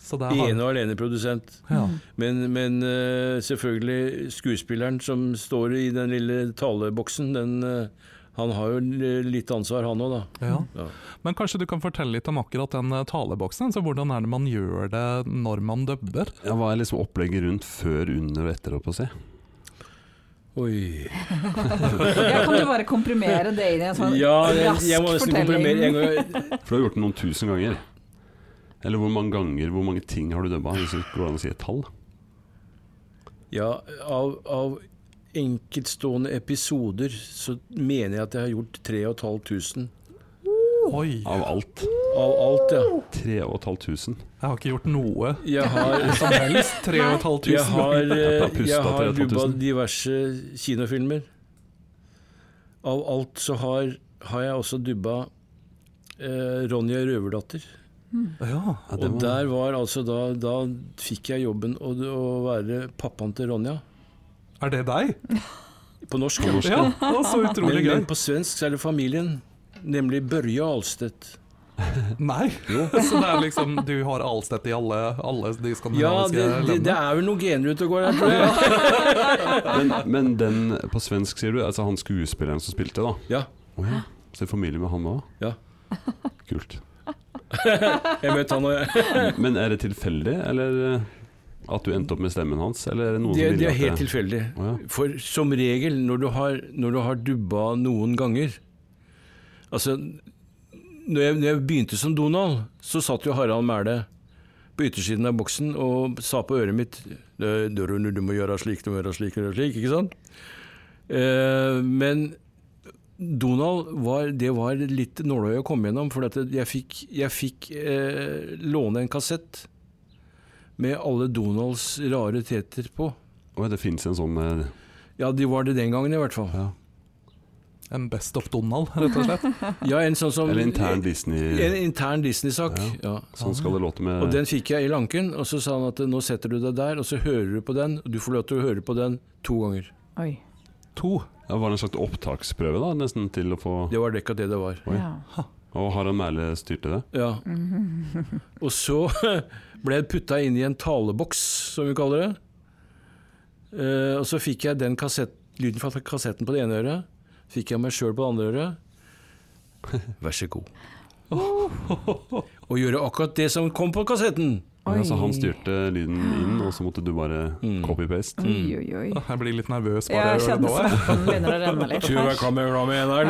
Speaker 2: Så det er
Speaker 4: Ene og alene produsent.
Speaker 2: ja.
Speaker 4: Men, men eh, selvfølgelig, skuespilleren som står i den lille taleboksen, den, eh, han har jo l- litt ansvar, han òg, da.
Speaker 2: Ja.
Speaker 4: Ja.
Speaker 2: Men kanskje du kan fortelle litt om akkurat den eh, taleboksen? Altså hvordan er det man gjør det når man dubber?
Speaker 1: Ja, Hva er liksom opplegget rundt før, under og etter, holdt på å si?
Speaker 4: Oi.
Speaker 3: Ja, kan du bare komprimere det inn i en sånn
Speaker 4: Ja, jeg,
Speaker 3: rask
Speaker 4: jeg må nesten
Speaker 3: fortelling?
Speaker 4: komprimere. Jeg,
Speaker 3: *laughs*
Speaker 4: går-
Speaker 1: For du har gjort det noen tusen ganger. Eller hvor mange ganger, hvor mange ting har du dubba? Hvis det går an å si et tall?
Speaker 4: ja, av, av enkeltstående episoder så mener jeg at jeg har gjort 3500.
Speaker 2: Oi,
Speaker 1: Av alt.
Speaker 4: Av alt, ja.
Speaker 1: 3500.
Speaker 2: jeg har ikke gjort noe
Speaker 4: Jeg har
Speaker 2: som helst.
Speaker 4: Jeg
Speaker 2: 3500
Speaker 4: har,
Speaker 2: ganger.
Speaker 1: Jeg
Speaker 4: eh,
Speaker 1: har pustet
Speaker 4: jeg har
Speaker 1: 3000.
Speaker 4: dubba diverse kinofilmer. Av alt så har, har jeg også dubba eh, Ronja Røverdatter.
Speaker 2: Ja.
Speaker 1: Ja, det
Speaker 4: Og
Speaker 1: var-
Speaker 4: der var altså da Da fikk jeg jobben å, å være pappaen til Ronja.
Speaker 2: Er det deg?
Speaker 4: På norsk,
Speaker 1: På norsk,
Speaker 4: ja.
Speaker 2: Ja, det var så
Speaker 4: Men,
Speaker 2: utrolig gøy.
Speaker 4: men på svensk så er det familien. Nemlig Børje Alstedt.
Speaker 2: Nei. *laughs* Så det er liksom Du har Alstedt i alle, alle de
Speaker 4: Ja,
Speaker 2: skandinaviske
Speaker 4: det, det, det
Speaker 2: landene?
Speaker 4: er vel noen gener ute og går her, tror jeg.
Speaker 1: men, men den på svensk, sier du? Altså han skuespilleren som spilte, da?
Speaker 4: Ja,
Speaker 1: Å ja. Så familie med han òg?
Speaker 4: ja.
Speaker 1: *laughs* Kult.
Speaker 4: Jeg møtte han eh, og jeg.
Speaker 1: Men er det tilfeldig, eller eh, at du endte opp med stemmen hans? Eller er det noen
Speaker 4: Det,
Speaker 1: som
Speaker 4: det
Speaker 1: ville
Speaker 4: er
Speaker 1: at
Speaker 4: helt
Speaker 1: det-
Speaker 4: tilfeldig.
Speaker 1: Å ja.
Speaker 4: For som regel, når du har, når du har dubba noen ganger Altså, når jeg, når jeg begynte som Donald, så satt jo Harald Mæhle på yttersiden av boksen og sa på øret mitt «Du- du, du, du må gjøre slik, du må gjøre slik, du må gjøre slik, ikke sant? Eh, men Donald var, det var litt nåløye å komme gjennom, for at jeg fikk, jeg fikk eh, låne en kassett med alle Donalds rare teter på.
Speaker 1: Å, det fins en sånn eh,
Speaker 4: Ja, de var det den gangen i hvert fall.
Speaker 1: ja.
Speaker 2: En Best of Donald, rett og slett.
Speaker 4: Ja, en sånn som
Speaker 1: Eller intern
Speaker 4: En
Speaker 1: Disney.
Speaker 4: intern Disney-sak. Ja.
Speaker 1: Sånn skal det låte med
Speaker 4: Og den fikk jeg i lanken, og så sa han at nå setter du deg der, og så hører du på den, og du får lov til å høre på den to ganger.
Speaker 3: Oi.
Speaker 2: To.
Speaker 1: ja, Var det en slags opptaksprøve, da, nesten til å få
Speaker 4: Det var dekka det det var.
Speaker 1: Oi.
Speaker 3: Ja.
Speaker 1: Og Harald Mæhle styrte det?
Speaker 4: Ja. Og så *laughs* ble jeg putta inn i en taleboks, som vi kaller det. Eh, og så fikk jeg den kassett, lyden fra kassetten på det ene øret. Fikk jeg meg sjøl på det andre øret.
Speaker 1: *laughs*
Speaker 4: Vær så god. Og gjøre akkurat det som kom på kassetten.
Speaker 3: Oi.
Speaker 1: Ja, så han styrte lyden inn, og så måtte du bare
Speaker 4: Mm. Ah,
Speaker 1: copy-paste?
Speaker 3: Oi, oi, oi.
Speaker 2: Jeg blir litt nervøs bare jeg hører
Speaker 3: Jeg
Speaker 2: det
Speaker 3: kjenner
Speaker 2: nå. jeg.
Speaker 3: svetten begynner å renne litt.
Speaker 4: Tror du jeg
Speaker 3: her.
Speaker 4: kan med hva med en her,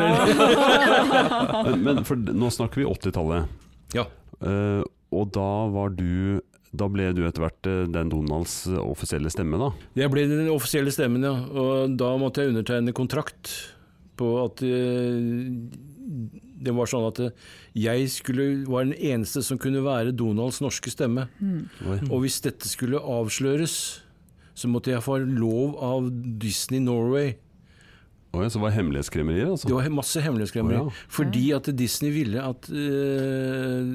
Speaker 3: *laughs*
Speaker 4: eller?
Speaker 1: Men, men for d- nå snakker vi 80-tallet.
Speaker 4: Ja.
Speaker 1: Eh, og da var du Da ble du etter hvert eh, den Donalds eh, offisielle stemme, da.
Speaker 4: Jeg ble den offisielle stemmen, ja. Og da måtte jeg undertegne kontrakt på at eh, det var sånn at eh, jeg skulle var den eneste som kunne være Donalds norske stemme.
Speaker 3: Mm.
Speaker 1: Oi.
Speaker 4: Og hvis dette skulle avsløres, så måtte jeg få lov av Disney Norway.
Speaker 1: Oi, så var det hemmelighetskremmerier,
Speaker 4: Det
Speaker 1: altså?
Speaker 4: var masse hemmelighetskremmeri.
Speaker 1: Å, ja.
Speaker 4: Fordi at Disney ville at eh,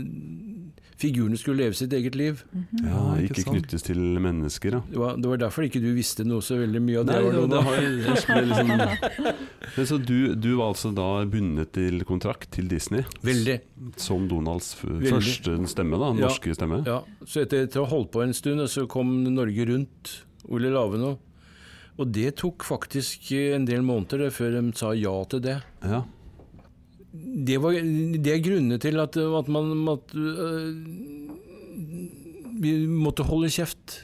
Speaker 4: figurene skulle leve sitt eget liv.
Speaker 1: Ja,
Speaker 2: Ja, ikke
Speaker 1: ikke
Speaker 2: sant.
Speaker 1: knyttes til mennesker, ja.
Speaker 4: Det var, det var derfor ikke du visste noe så veldig mye av det.
Speaker 1: Nei,
Speaker 4: var
Speaker 1: det-
Speaker 4: noe
Speaker 1: det
Speaker 4: da.
Speaker 1: har jeg- jeg ble liksom Men Så du, du var altså da bundet til kontrakt til Disney
Speaker 4: Veldig.
Speaker 1: som Donalds f
Speaker 4: Veldig.
Speaker 1: første stemme, da,
Speaker 4: Ja.
Speaker 1: norske stemme?
Speaker 4: Ja, så etter etter å ha holdt på en stund, så kom Norge Rundt, Ole Laveno. Og det tok faktisk eh, en del måneder det, før de sa ja til det.
Speaker 1: Ja.
Speaker 4: Det, var, det er grunnene til at, at man at, øh, Vi måtte holde kjeft.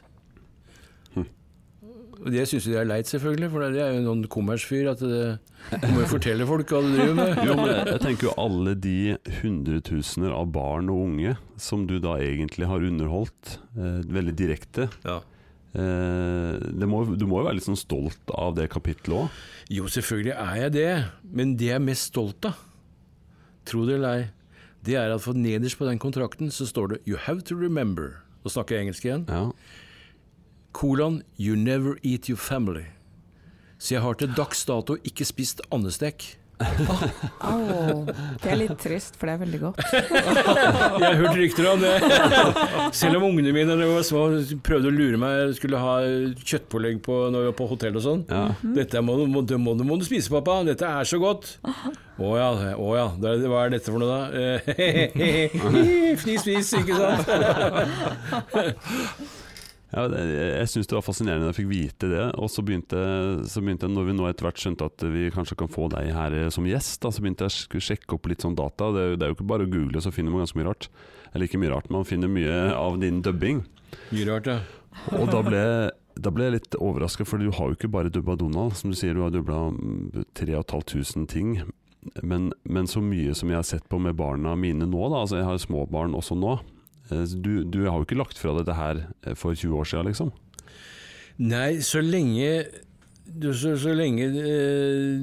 Speaker 4: Og det syns jeg er leit, selvfølgelig, for det er jo noen kommersfyr. At det, du må jo fortelle folk hva du driver med.
Speaker 1: *laughs* Jo, men jeg tenker jo alle de hundretusener av barn og unge som du da egentlig har underholdt, eh, veldig direkte.
Speaker 4: Ja.
Speaker 1: Eh, det må, du må jo være litt sånn stolt av det kapitlet òg.
Speaker 4: Jo, selvfølgelig er jeg det, men det jeg er mest stolt av, tro det eller ei, det er at for nederst på den kontrakten så står det 'You have to remember'. Nå snakker jeg engelsk igjen.
Speaker 1: Ja.
Speaker 4: Kolon 'You never eat your family'. Så jeg har til dags dato ikke spist andestek.
Speaker 3: Au. Det er litt trist, for det er veldig godt.
Speaker 4: Jeg har hørt rykter om det. Selv om ungene mine da jeg var små prøvde å lure meg, jeg skulle ha kjøttpålegg på, når vi var på hotell og sånn.
Speaker 1: Ja.
Speaker 4: Dette må, du- må, det må, du- må du spise, pappa. Dette er så godt. Å ja, å ja. Det er- Hva er dette for noe, da? *laughs* Eh, Fnis, fnis, ikke sant?
Speaker 1: Ja, det- jeg jeg syns det var fascinerende da jeg fikk vite det. Og så begynte, så begynte jeg, når vi nå etter hvert skjønte at vi kanskje kan få deg her eh, som gjest, da, så begynte jeg å sk- sjekke opp litt sånn data. Det, er jo- det er jo ikke bare å google, så finner man ganske mye rart. Eller ikke mye rart, man finner mye av din dubbing.
Speaker 4: Mye rart, ja.
Speaker 1: Og da ble, da ble jeg litt overraska, for du har jo ikke bare dubba Donald. Som du sier, du har dubba mm, 3500 ting. Men, men så mye som jeg har sett på med barna mine nå, da. Altså, jeg har små barn også nå. Eh, så Du, du har jo ikke lagt fra deg dette her eh, for 20 år siden, liksom.
Speaker 4: Nei, så lenge du, så, så lenge eh,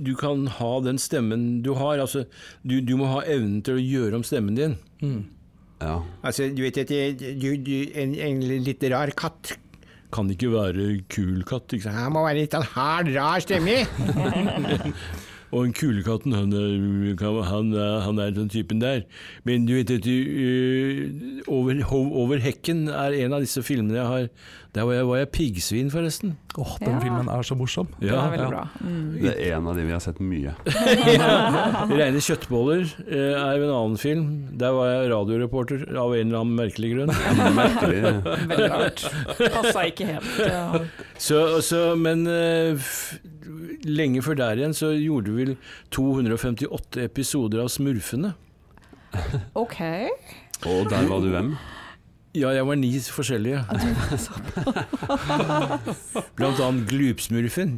Speaker 4: du kan ha den stemmen du har, altså du, du må ha evnen til å gjøre om stemmen din.
Speaker 2: Mm.
Speaker 1: Ja.
Speaker 5: Altså, du vet at jeg- du, du, en, en litt rar katt
Speaker 4: Kan ikke være kul katt, ikke sant?
Speaker 5: Han må være litt sånn hard, rar stemme.
Speaker 4: Og en kulekatten, han er, kan- han, er- han er den typen der. Men du vet at du, øh, over, Hov- over hekken er en av disse filmene jeg har Der var jeg, var jeg piggsvin, forresten.
Speaker 2: Åh, den
Speaker 3: Ja.
Speaker 2: filmen er så morsom.
Speaker 3: Det
Speaker 4: Ja,
Speaker 3: er veldig bra. Mm.
Speaker 1: Det er en av de vi har sett mye.
Speaker 4: Reine kjøttboller eh, er jo en annen film. Der var jeg radioreporter av en eller annen merkelig grunn.
Speaker 1: Merkelig.
Speaker 3: *laughs* Veldig rart. Passa ikke *laughs* helt. eh, Ja.
Speaker 4: Så, så, men eh, f lenge før der igjen så gjorde vi vel 258 episoder av Smurfene.
Speaker 3: Ok.
Speaker 1: Og der var du hvem?
Speaker 4: Ja, jeg var ni forskjellige. *laughs* Blant annet glupsmurfen.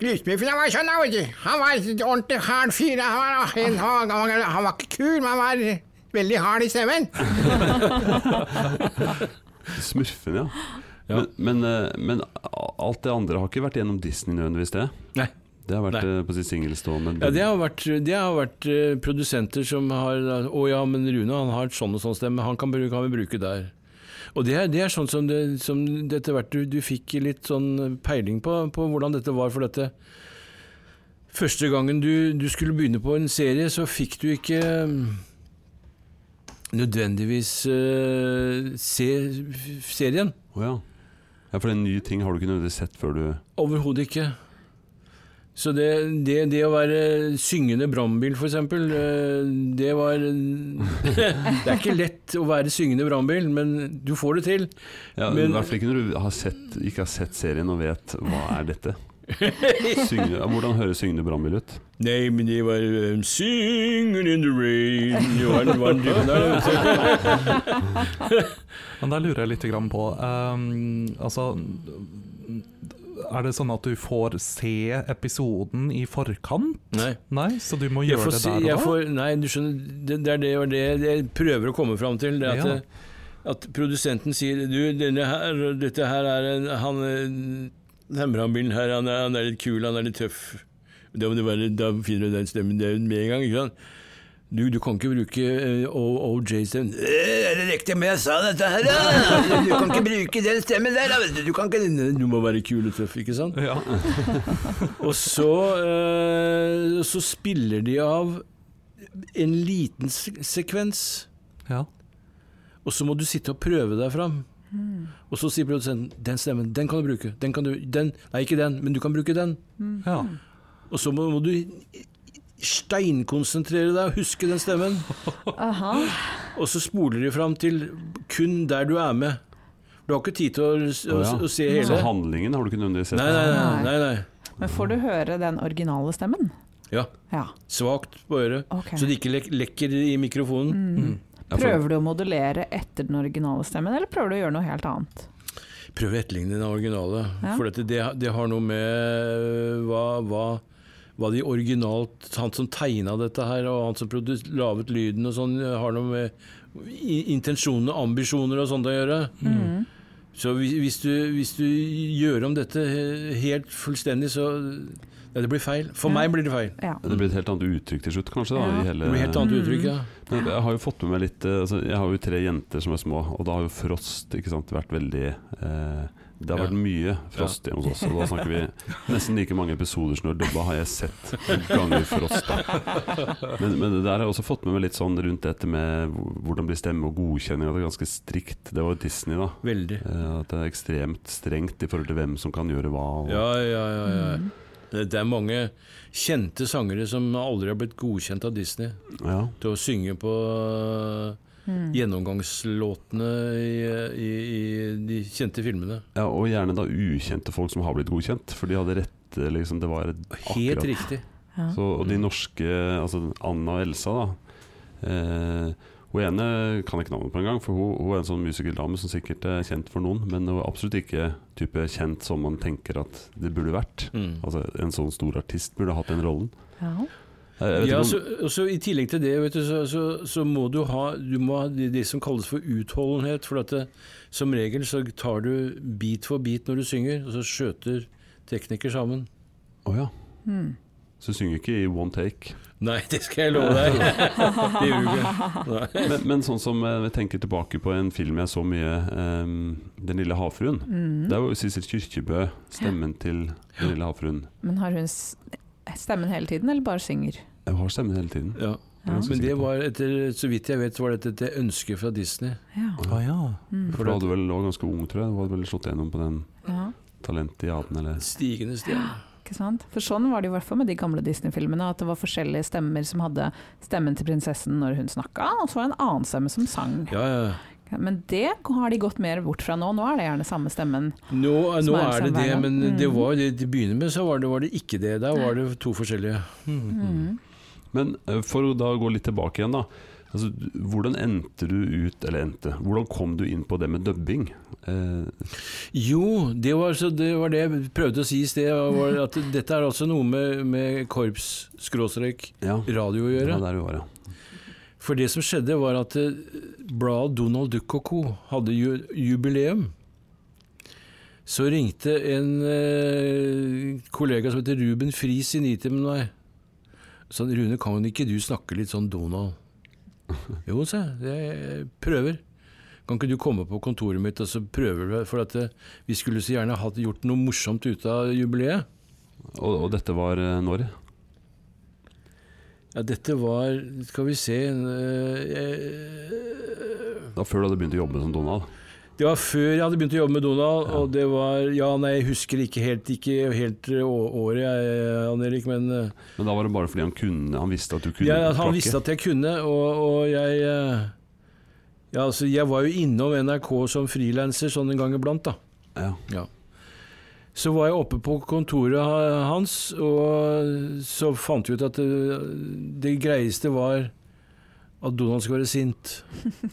Speaker 5: Lysbjørn var sånn, da, vet du. Han var en ordentlig hard fyr. Han var, han, han, var- han var ikke kul, men han var veldig hard i stemmen.
Speaker 1: Smurfen, ja.
Speaker 4: Ja.
Speaker 1: Men, men, eh, men a- alt det andre har ikke vært gjennom Disney nødvendigvis, det?
Speaker 4: Nei.
Speaker 1: Det har vært
Speaker 4: Nei.
Speaker 1: eh, på sitt singelstående.
Speaker 4: Ja, det har vært, det har vært eh, produsenter som har da, Å ja, men Rune han har et sånn og sånn stemme, han kan, bruke, han vil bruke der. Og det er, det er sånn som, det, som det etter hvert du, du fikk litt sånn peiling på, på hvordan dette var for dette. Første gangen du, du skulle begynne på en serie, så fikk du ikke eh, nødvendigvis eh, se f- serien.
Speaker 1: Å ja. ja, for den nye ting har du ikke nødvendigvis sett før du
Speaker 4: Overhodet ikke. Så det, det, det å være syngende brannbil, for eksempel, eh, det var *laughs* Det er ikke lett å være syngende brannbil, men du får det til.
Speaker 1: ja,
Speaker 4: Men-
Speaker 1: I hvert fall ikke når du har sett, ikke har sett serien og vet hva er
Speaker 4: *laughs*
Speaker 1: dette. Syngende, ja, hvordan høres syngende brannbil ut?
Speaker 4: Nei, men det var um, Singing in the rain Det var- det var en type der, vet du.
Speaker 2: Men der lurer jeg litt grann på ehm, Altså Er det sånn at du får se episoden i forkant?
Speaker 4: Nei.
Speaker 2: Nei, så du må
Speaker 4: Jeg
Speaker 2: gjøre
Speaker 4: får,
Speaker 2: det
Speaker 4: si-
Speaker 2: der
Speaker 4: jeg
Speaker 2: og da?
Speaker 4: får, nei, du skjønner, det, det er det, og det jeg prøver å komme fram til. Det er at, eh,
Speaker 2: Ja.
Speaker 4: at produsenten sier Du, denne her, dette her er en Han eh, den brannbilen her, han er, han er litt kul, han er litt tøff. Da, må det være, da finner du den stemmen det er med en gang. ikke sant? Du, du kan ikke bruke eh, O- OJ-stemmen. Eh, Er det riktig om jeg sa dette her,
Speaker 2: *laughs*
Speaker 4: da? Du kan ikke bruke den stemmen der, da, vet du. Du, kan ikke, du må være kul og tøff, ikke sant?
Speaker 2: Ja.
Speaker 4: Og så, eh, så spiller de av en liten se- sekvens,
Speaker 2: ja.
Speaker 4: og så må du sitte og prøve deg fram. Og så sier produsenten 'den stemmen, den kan du bruke'. Den kan du, den, nei, ikke den, men du kan bruke den.
Speaker 2: ja.
Speaker 4: Og så må, må du steinkonsentrere deg og huske den stemmen.
Speaker 3: Aha.
Speaker 4: Og så spoler de fram til kun der du er med. Du har ikke tid til å, å,
Speaker 1: Å, ja.
Speaker 4: å se
Speaker 1: Så
Speaker 4: hele.
Speaker 1: Altså handlingen har du ikke nødvendigvis sett?
Speaker 4: Nei, nei, nei. nei, nei.
Speaker 3: Men får du høre den originale stemmen?
Speaker 4: Ja,
Speaker 3: Ja.
Speaker 4: Svakt på øret,
Speaker 3: Ok.
Speaker 4: så det ikke lek lekker i mikrofonen.
Speaker 1: Ja, for-
Speaker 3: Prøver du å modellere etter den originale stemmen, eller prøver du å gjøre noe helt annet?
Speaker 4: Prøv å etterligne den originale.
Speaker 3: Ja.
Speaker 4: For dette, det, det har noe med øh, hva, hva, hva de originalt Han som tegna dette her, og han som produ- laget lyden og sånn, øh, har noe med i- intensjoner og ambisjoner og sånt å gjøre.
Speaker 3: Mm.
Speaker 4: Så hvis, hvis, du, hvis du gjør om dette he- helt fullstendig, så Nei, det blir feil. For
Speaker 3: Ja.
Speaker 4: meg blir det feil.
Speaker 3: Ja.
Speaker 1: Det blir et helt annet uttrykk til slutt, kanskje? Da,
Speaker 3: Ja.
Speaker 1: i hele,
Speaker 4: Det blir helt annet
Speaker 3: Mm.
Speaker 4: uttrykk, ja.
Speaker 1: Men jeg har jo fått med meg litt eh, altså, Jeg har jo tre jenter som er små, og da har jo Frost ikke sant, vært veldig eh, Det har
Speaker 4: Ja.
Speaker 1: vært mye Frost hjemme hos oss, og da snakker vi nesten like mange episoder som du har dubba, har jeg sett ganger Frost. Da. Men, men det der har jeg også fått med meg litt sånn rundt dette med hvor- hvordan blir stemme og godkjenning, og det er ganske strikt. Det var jo Disney, da.
Speaker 4: Veldig.
Speaker 1: Eh, At det er ekstremt strengt i forhold til hvem som kan gjøre hva. Og,
Speaker 4: Ja, ja, ja. ja.
Speaker 3: Mm.
Speaker 4: Det, det er mange kjente sangere som aldri har blitt godkjent av Disney.
Speaker 1: Ja.
Speaker 4: til å synge på øh, gjennomgangslåtene i, i, i de kjente filmene.
Speaker 1: Ja, og gjerne da ukjente folk som har blitt godkjent, for de hadde rette liksom, Det var
Speaker 4: Helt
Speaker 1: akkurat
Speaker 4: riktig.
Speaker 3: Ja.
Speaker 1: Så, og de norske, altså Anna og Elsa da eh, Hun ene kan jeg ikke navnet på engang For hun, hun er en sånn musikerdame som sikkert er kjent for noen Men hun er absolutt ikke type kjent som man tenker at det burde vært
Speaker 4: Mm.
Speaker 1: Altså en sånn stor artist burde hatt den rollen
Speaker 3: Ja.
Speaker 1: Jeg- jeg vet
Speaker 4: Ja,
Speaker 1: ikke om-
Speaker 4: så, og så I tillegg til det, vet du, så, så, så må du ha, du må ha det, det som kalles for utholdenhet. For at det, som regel så tar du bit for bit når du synger, og så skjøter tekniker sammen.
Speaker 1: Åja.
Speaker 4: Mm.
Speaker 1: Så hun synger ikke i one take
Speaker 4: Nei, det skal jeg love deg! det gjør du ikke. Nei.
Speaker 1: men, men sånn som eh, jeg tenker tilbake på en film jeg så mye ehm, Den lille havfruen
Speaker 4: Mm.
Speaker 1: Det er jo Sissel Kyrkjebø Stemmen til Den lille havfruen
Speaker 3: Men har hun s- stemmen hele tiden, eller bare synger?
Speaker 1: Jeg har stemmen hele tiden
Speaker 4: Ja.
Speaker 1: Jeg er ganske
Speaker 4: Men det
Speaker 1: sikker på.
Speaker 4: var etter, så vidt jeg vet, så var dette et ønske fra Disney.
Speaker 3: Ja.
Speaker 2: Ah, ja.
Speaker 1: For da hadde du vel lå ganske ung, tror jeg. Du hadde vel slått gjennom på den
Speaker 3: ja.
Speaker 1: talentiaden, eller
Speaker 4: Stigende stjerne.
Speaker 3: Ikke sant? For sånn var det i hvert fall med de gamle Disney-filmene, at det var forskjellige stemmer som hadde stemmen til prinsessen når hun snakka, og så var det en annen stemme som sang.
Speaker 4: Ja, ja, ja.
Speaker 3: Men det har de gått mer bort fra nå, nå er det gjerne samme stemmen.
Speaker 4: Nå, eh, nå
Speaker 3: er
Speaker 4: er det
Speaker 3: samme
Speaker 4: det,
Speaker 3: veien.
Speaker 4: men
Speaker 3: Mm.
Speaker 4: det var det til å begynne med så var det, var det ikke det. Der var det to forskjellige.
Speaker 2: Mm.
Speaker 1: Men eh, for å da gå litt tilbake igjen, da. Altså, hvordan endte du ut, eller endte, hvordan kom du inn på det med dubbing? Eh,
Speaker 4: Jo, det var, så det var det jeg prøvde å si i sted. Var at dette er altså noe med, med korps-radio
Speaker 1: ja,
Speaker 4: å
Speaker 1: det
Speaker 4: gjøre.
Speaker 1: var der vi var, ja.
Speaker 4: For det som skjedde, var at eh, bladet Donald Duck og co. hadde ju- jubileum. Så ringte en eh, kollega som heter Ruben Friis i Nitimen meg. Sa han, Rune, kan ikke du snakke litt sånn Donald? Jo, sa jeg. Jeg prøver. Kan ikke du komme på kontoret mitt og så prøver du? For at eh, vi skulle så gjerne hatt gjort noe morsomt ut av jubileet.
Speaker 1: Og, og dette var eh, når?
Speaker 4: Ja, dette var Skal vi se eh, eh,
Speaker 1: Da før du hadde begynt å jobbe som Donald?
Speaker 4: Det var før jeg hadde begynt å jobbe med Donald,
Speaker 1: Ja.
Speaker 4: og det var Ja, nei, jeg husker ikke helt, ikke helt eh, å- året, jeg, Jan Erik, men eh,
Speaker 1: Men da var det bare fordi han kunne Han visste at du kunne
Speaker 4: jeg, han visste
Speaker 1: plakke?
Speaker 4: at jeg kunne, og, og jeg eh, ja, altså, Jeg var jo innom NRK som frilanser sånn en gang iblant, da.
Speaker 1: Ja.
Speaker 4: Så var jeg oppe på kontoret ha- hans, og så fant vi ut at det, det greieste var at Donald skulle være sint.
Speaker 1: *laughs*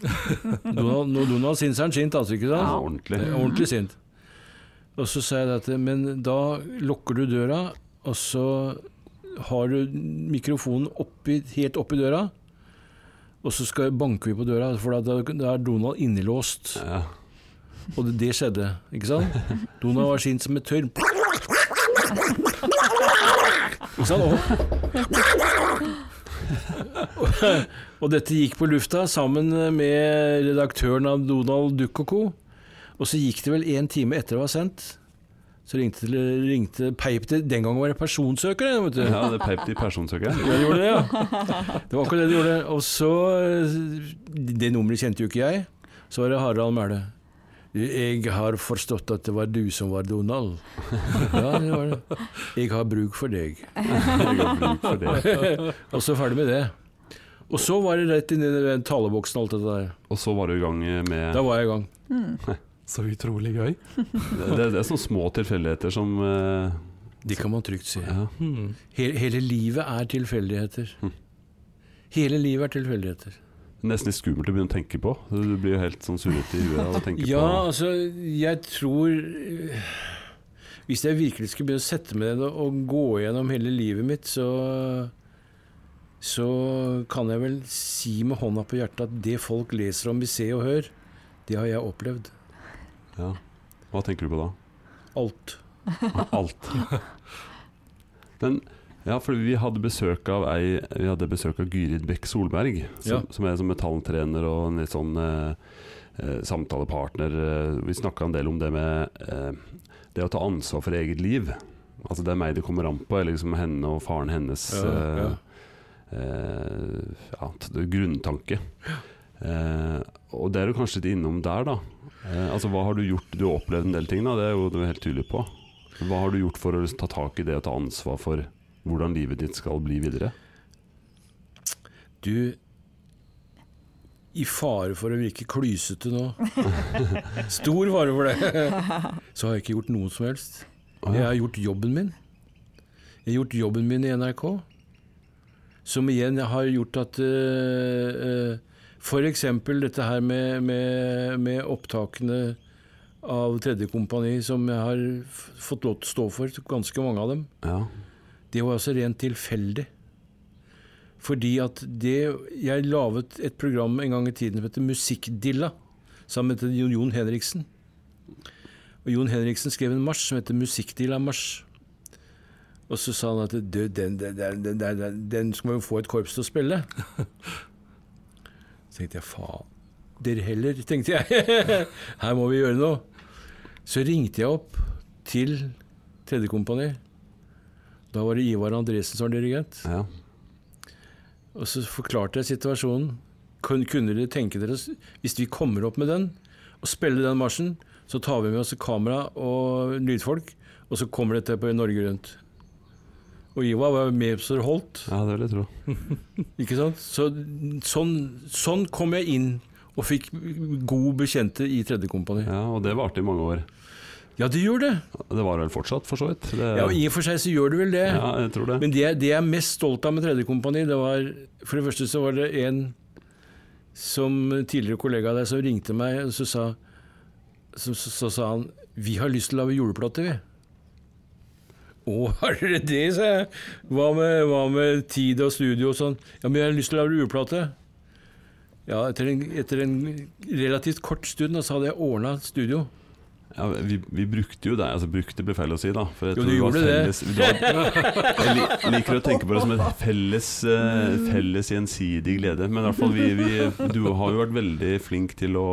Speaker 4: Donald, når Donald sint, så er han sint, altså, ikke sant?
Speaker 1: Ja, ordentlig.
Speaker 4: Eh, Ordentlig sint. Og så sa jeg det at Men da lukker du døra, og så har du mikrofonen oppi, helt oppi døra. Og så skal, banker vi på døra, for da, da er Donald innelåst.
Speaker 1: Ja.
Speaker 4: Og det, det skjedde, ikke sant? Donald var sint som et tørr Ikke sant? Og, og dette gikk på lufta sammen med redaktøren av Donald Duck og co. Og så gikk det vel en time etter det var sendt. Så ringte, til- ringte peip til Den gangen var det personsøker, det, vet du.
Speaker 1: ja, *laughs* det peip til personsøkeren.
Speaker 4: Ja, det gjorde det, ja. Det var akkurat det de gjorde. Og så eh, Det nummeret kjente jo ikke jeg. Så var det Harald Mæhle. Jeg har forstått at det var du som var Donald. Ja, det var det. Jeg har bruk for deg.
Speaker 1: Jeg har bruk for det.
Speaker 4: Og så ferdig med det. Og så var det rett inn i den taleboksen og alt dette der.
Speaker 1: Og så var du i gang med
Speaker 4: Da var jeg i gang.
Speaker 2: Så utrolig gøy.
Speaker 1: Det, det, det er sånne små tilfeldigheter som eh,
Speaker 4: Det kan man trygt si.
Speaker 1: ja.
Speaker 2: Hmm.
Speaker 4: Hele, hele livet er tilfeldigheter. Hele livet er tilfeldigheter.
Speaker 1: Nesten litt skummelt å begynne å tenke på. Du blir jo helt sånn surrete i huet av å
Speaker 4: *laughs*
Speaker 1: tenke
Speaker 4: Ja,
Speaker 1: på
Speaker 4: altså, jeg tror eh, Hvis jeg virkelig skulle begynne å sette meg ned og- og gå gjennom hele livet mitt, så så kan jeg vel si med hånda på hjertet at det folk leser om i Se og Hør, det har jeg opplevd.
Speaker 1: ja. Hva tenker du på da?
Speaker 4: *laughs* Alt.
Speaker 1: Alt. Men ja, for vi hadde besøk av ei Vi hadde besøk av Gyrid Bekk Solberg, som,
Speaker 4: Ja.
Speaker 1: som er som metalltrener og en litt sånn eh, eh, samtalepartner. Eh, Vi snakka en del om det med eh, det å ta ansvar for eget liv. Altså det er meg det kommer an på, eller liksom henne og faren hennes
Speaker 4: Ja, ja.
Speaker 1: Eh, eh, ja, t- det er grunntanke. Eh, og det er du kanskje litt innom der, da. Eh, altså Hva har du gjort? Du har opplevd en del ting, da, det er jo du er helt tydelig på. Hva har du gjort for å liksom ta tak i det og ta ansvar for hvordan livet ditt skal bli videre?
Speaker 4: Du I fare for å virke klysete
Speaker 1: *laughs*
Speaker 4: nå Stor fare for det! *laughs* Så har jeg ikke gjort noe som helst.
Speaker 1: Å,
Speaker 4: Jeg
Speaker 1: ja.
Speaker 4: har gjort jobben min. Jeg har gjort jobben min i NRK. Som igjen har gjort at uh, F.eks. dette her med, med, med opptakene av Tredje kompani, som jeg har f- fått lov til å stå for, ganske mange av dem.
Speaker 1: Ja.
Speaker 4: Det var altså rent tilfeldig. Fordi at det Jeg laget et program en gang i tiden som heter Musikkdilla, sammen med Jon- Jon Henriksen. Og Jon Henriksen skrev en marsj som heter Musikkdilla-marsj. Og så sa han at du, den, den, den, den, den, den skal man jo få et korps til å spille. Så tenkte jeg faen Dere heller, tenkte jeg. *laughs* Her må vi gjøre noe. Så ringte jeg opp til Tredje kompani. Da var det Ivar Andresen som var dirigent.
Speaker 1: Ja.
Speaker 4: Og så forklarte jeg situasjonen. Kun, kunne dere tenke dere s- Hvis vi kommer opp med den, og spiller den marsjen, så tar vi med oss kamera og lydfolk, og så kommer dette på Norge Rundt. Og Ivar var med så det holdt.
Speaker 1: ja, det vil jeg tro.
Speaker 4: Ikke sant? Så, sånn, sånn kom jeg inn og fikk god bekjente i Tredje Kompani.
Speaker 1: Ja, og det varte i mange år.
Speaker 4: Ja, det gjør det!
Speaker 1: Det var vel fortsatt, for så vidt. Det,
Speaker 4: Ja, og I og for seg så gjør det vel det.
Speaker 1: ja, jeg tror det.
Speaker 4: Men det, det jeg er mest stolt av med Tredje Kompani, det var For det første så var det en som tidligere kollega av deg som ringte meg, og så sa, så, så, så sa han Vi har lyst til å lage juleplate, vi. Å, har dere det, sa jeg. Hva med, hva med tid og studio og sånn? Ja, men jeg har lyst til å lage juleplate. Ja, etter en, etter en relativt kort stund da, så hadde jeg ordna studio.
Speaker 1: Ja, vi, vi brukte jo deg altså Brukte blir feil å si, da. For jeg
Speaker 4: Jo,
Speaker 1: tror
Speaker 4: du
Speaker 1: var
Speaker 4: gjorde det.
Speaker 1: felles,
Speaker 4: *laughs*
Speaker 1: det. Var, jeg li- liker å tenke på det som en felles, eh, felles gjensidig glede. Men i hvert fall, vi, vi, du har jo vært veldig flink til å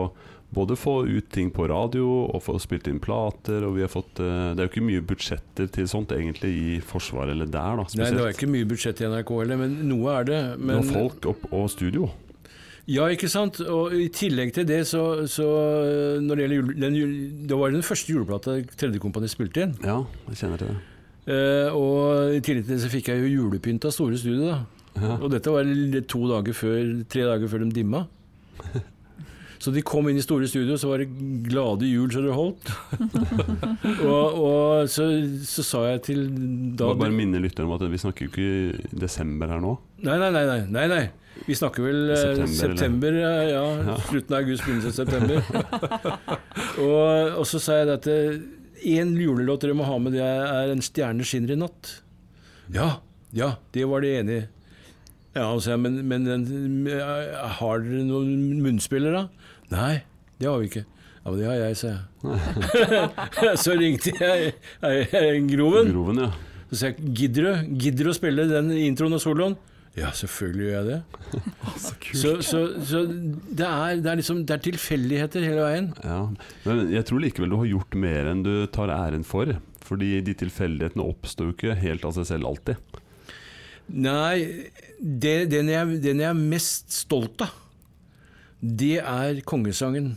Speaker 1: både få ut ting på radio og få spilt inn plater. Og vi har fått eh, Det er jo ikke mye budsjetter til sånt egentlig i Forsvaret eller der, da.
Speaker 4: Nei,
Speaker 1: Spesielt.
Speaker 4: det var ikke mye budsjett i NRK heller, men noe er det.
Speaker 1: Det
Speaker 4: Men,
Speaker 1: var folk opp og studio.
Speaker 4: Ja, ikke sant? Og i tillegg til det, så, så øh, når det gjelder jul, den jul, Det var den første juleplata Tredje Kompani spilte inn.
Speaker 1: Ja, jeg kjenner til det.
Speaker 4: Eh, og i tillegg til det så fikk jeg jo julepynt av Store Studio, da.
Speaker 1: Ja.
Speaker 4: Og dette var l- to dager før, tre dager før de
Speaker 1: *laughs*
Speaker 4: dimma. Så de kom inn i Store Studio, så var det glade jul så det holdt. *laughs* og og så, så sa jeg til da
Speaker 1: Bare, bare minne lytterne om at vi snakker jo ikke desember her nå.
Speaker 4: Nei, nei, nei. nei, nei, nei. Vi snakker vel eh,
Speaker 1: September,
Speaker 4: september, eh, ja,
Speaker 1: Ja.
Speaker 4: Slutten av august, begynnelsen av september.
Speaker 1: *laughs*
Speaker 4: og, og så sa jeg det at én julelåt dere må ha med, det er 'En stjerne skinner i natt'. Ja, ja, det var de enige i. Ja, altså, ja, men, men den- eh, har dere noen munnspiller, da? Nei, det har vi ikke. Ja, men det har jeg, sa
Speaker 1: *laughs*
Speaker 4: jeg. *laughs* så ringte jeg eh, eh, Groven.
Speaker 1: Groven, ja.
Speaker 4: Så sier jeg gidder du, gidder du å spille den introen og soloen? Ja, selvfølgelig gjør jeg det. Så, så, så det, er, det, er liksom, det er tilfeldigheter hele veien.
Speaker 1: Ja, men jeg tror likevel du har gjort mer enn du tar æren for. Fordi de tilfeldighetene oppstår jo ikke helt av seg selv alltid.
Speaker 4: Nei, det, den, jeg, den jeg er mest stolt av, det er kongesangen.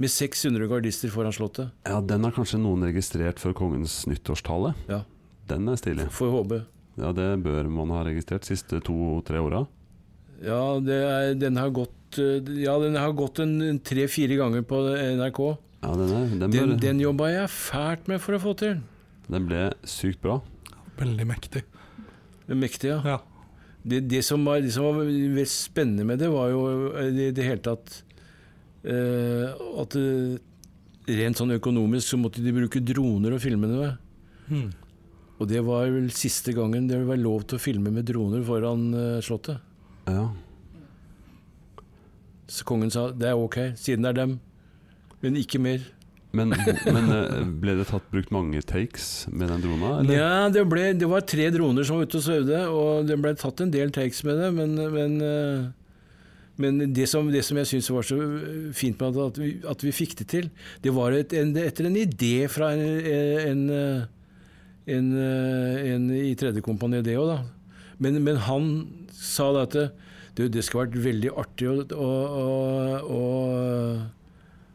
Speaker 4: Med 600 gardister foran Slottet.
Speaker 1: Ja, Den har kanskje noen registrert før kongens nyttårstale.
Speaker 4: Ja,
Speaker 1: Den er stilig.
Speaker 4: får håpe.
Speaker 1: Ja, Det bør man ha registrert siste to-tre åra.
Speaker 4: Ja, det er, den har gått, eh, ja, den har gått en, en tre-fire ganger på NRK.
Speaker 1: Ja, den, er, den,
Speaker 4: Den,
Speaker 1: bør, den,
Speaker 4: den jobba jeg fælt med for å få til.
Speaker 1: ble sykt bra.
Speaker 2: Veldig mektig.
Speaker 4: Den mektige.
Speaker 2: Ja.
Speaker 4: Det, det, som var, det som var veldig spennende med det, var jo i det hele tatt eh, at eh, rent sånn økonomisk så måtte de bruke droner og filme det med.
Speaker 2: Hmm.
Speaker 4: Og det var vel siste gangen det var lov til å filme med droner foran eh, Slottet.
Speaker 1: Ja,
Speaker 4: Så kongen sa det er ok, siden det er dem, men ikke mer.
Speaker 1: Men, men eh, ble det tatt brukt mange takes med den drona? Eller?
Speaker 4: Ja, det, ble, det var tre droner som var ute og svevde, og det ble tatt en del takes med det, men, men, eh, men det, som, det som jeg syns var så fint med at- at vi, at vi fikk det til, det var et, en, etter en idé fra en, en, eh, en, eh, en i tredje kompani, det òg, da. Men, men han sa da at det, du, det skulle vært veldig artig å, å, å, å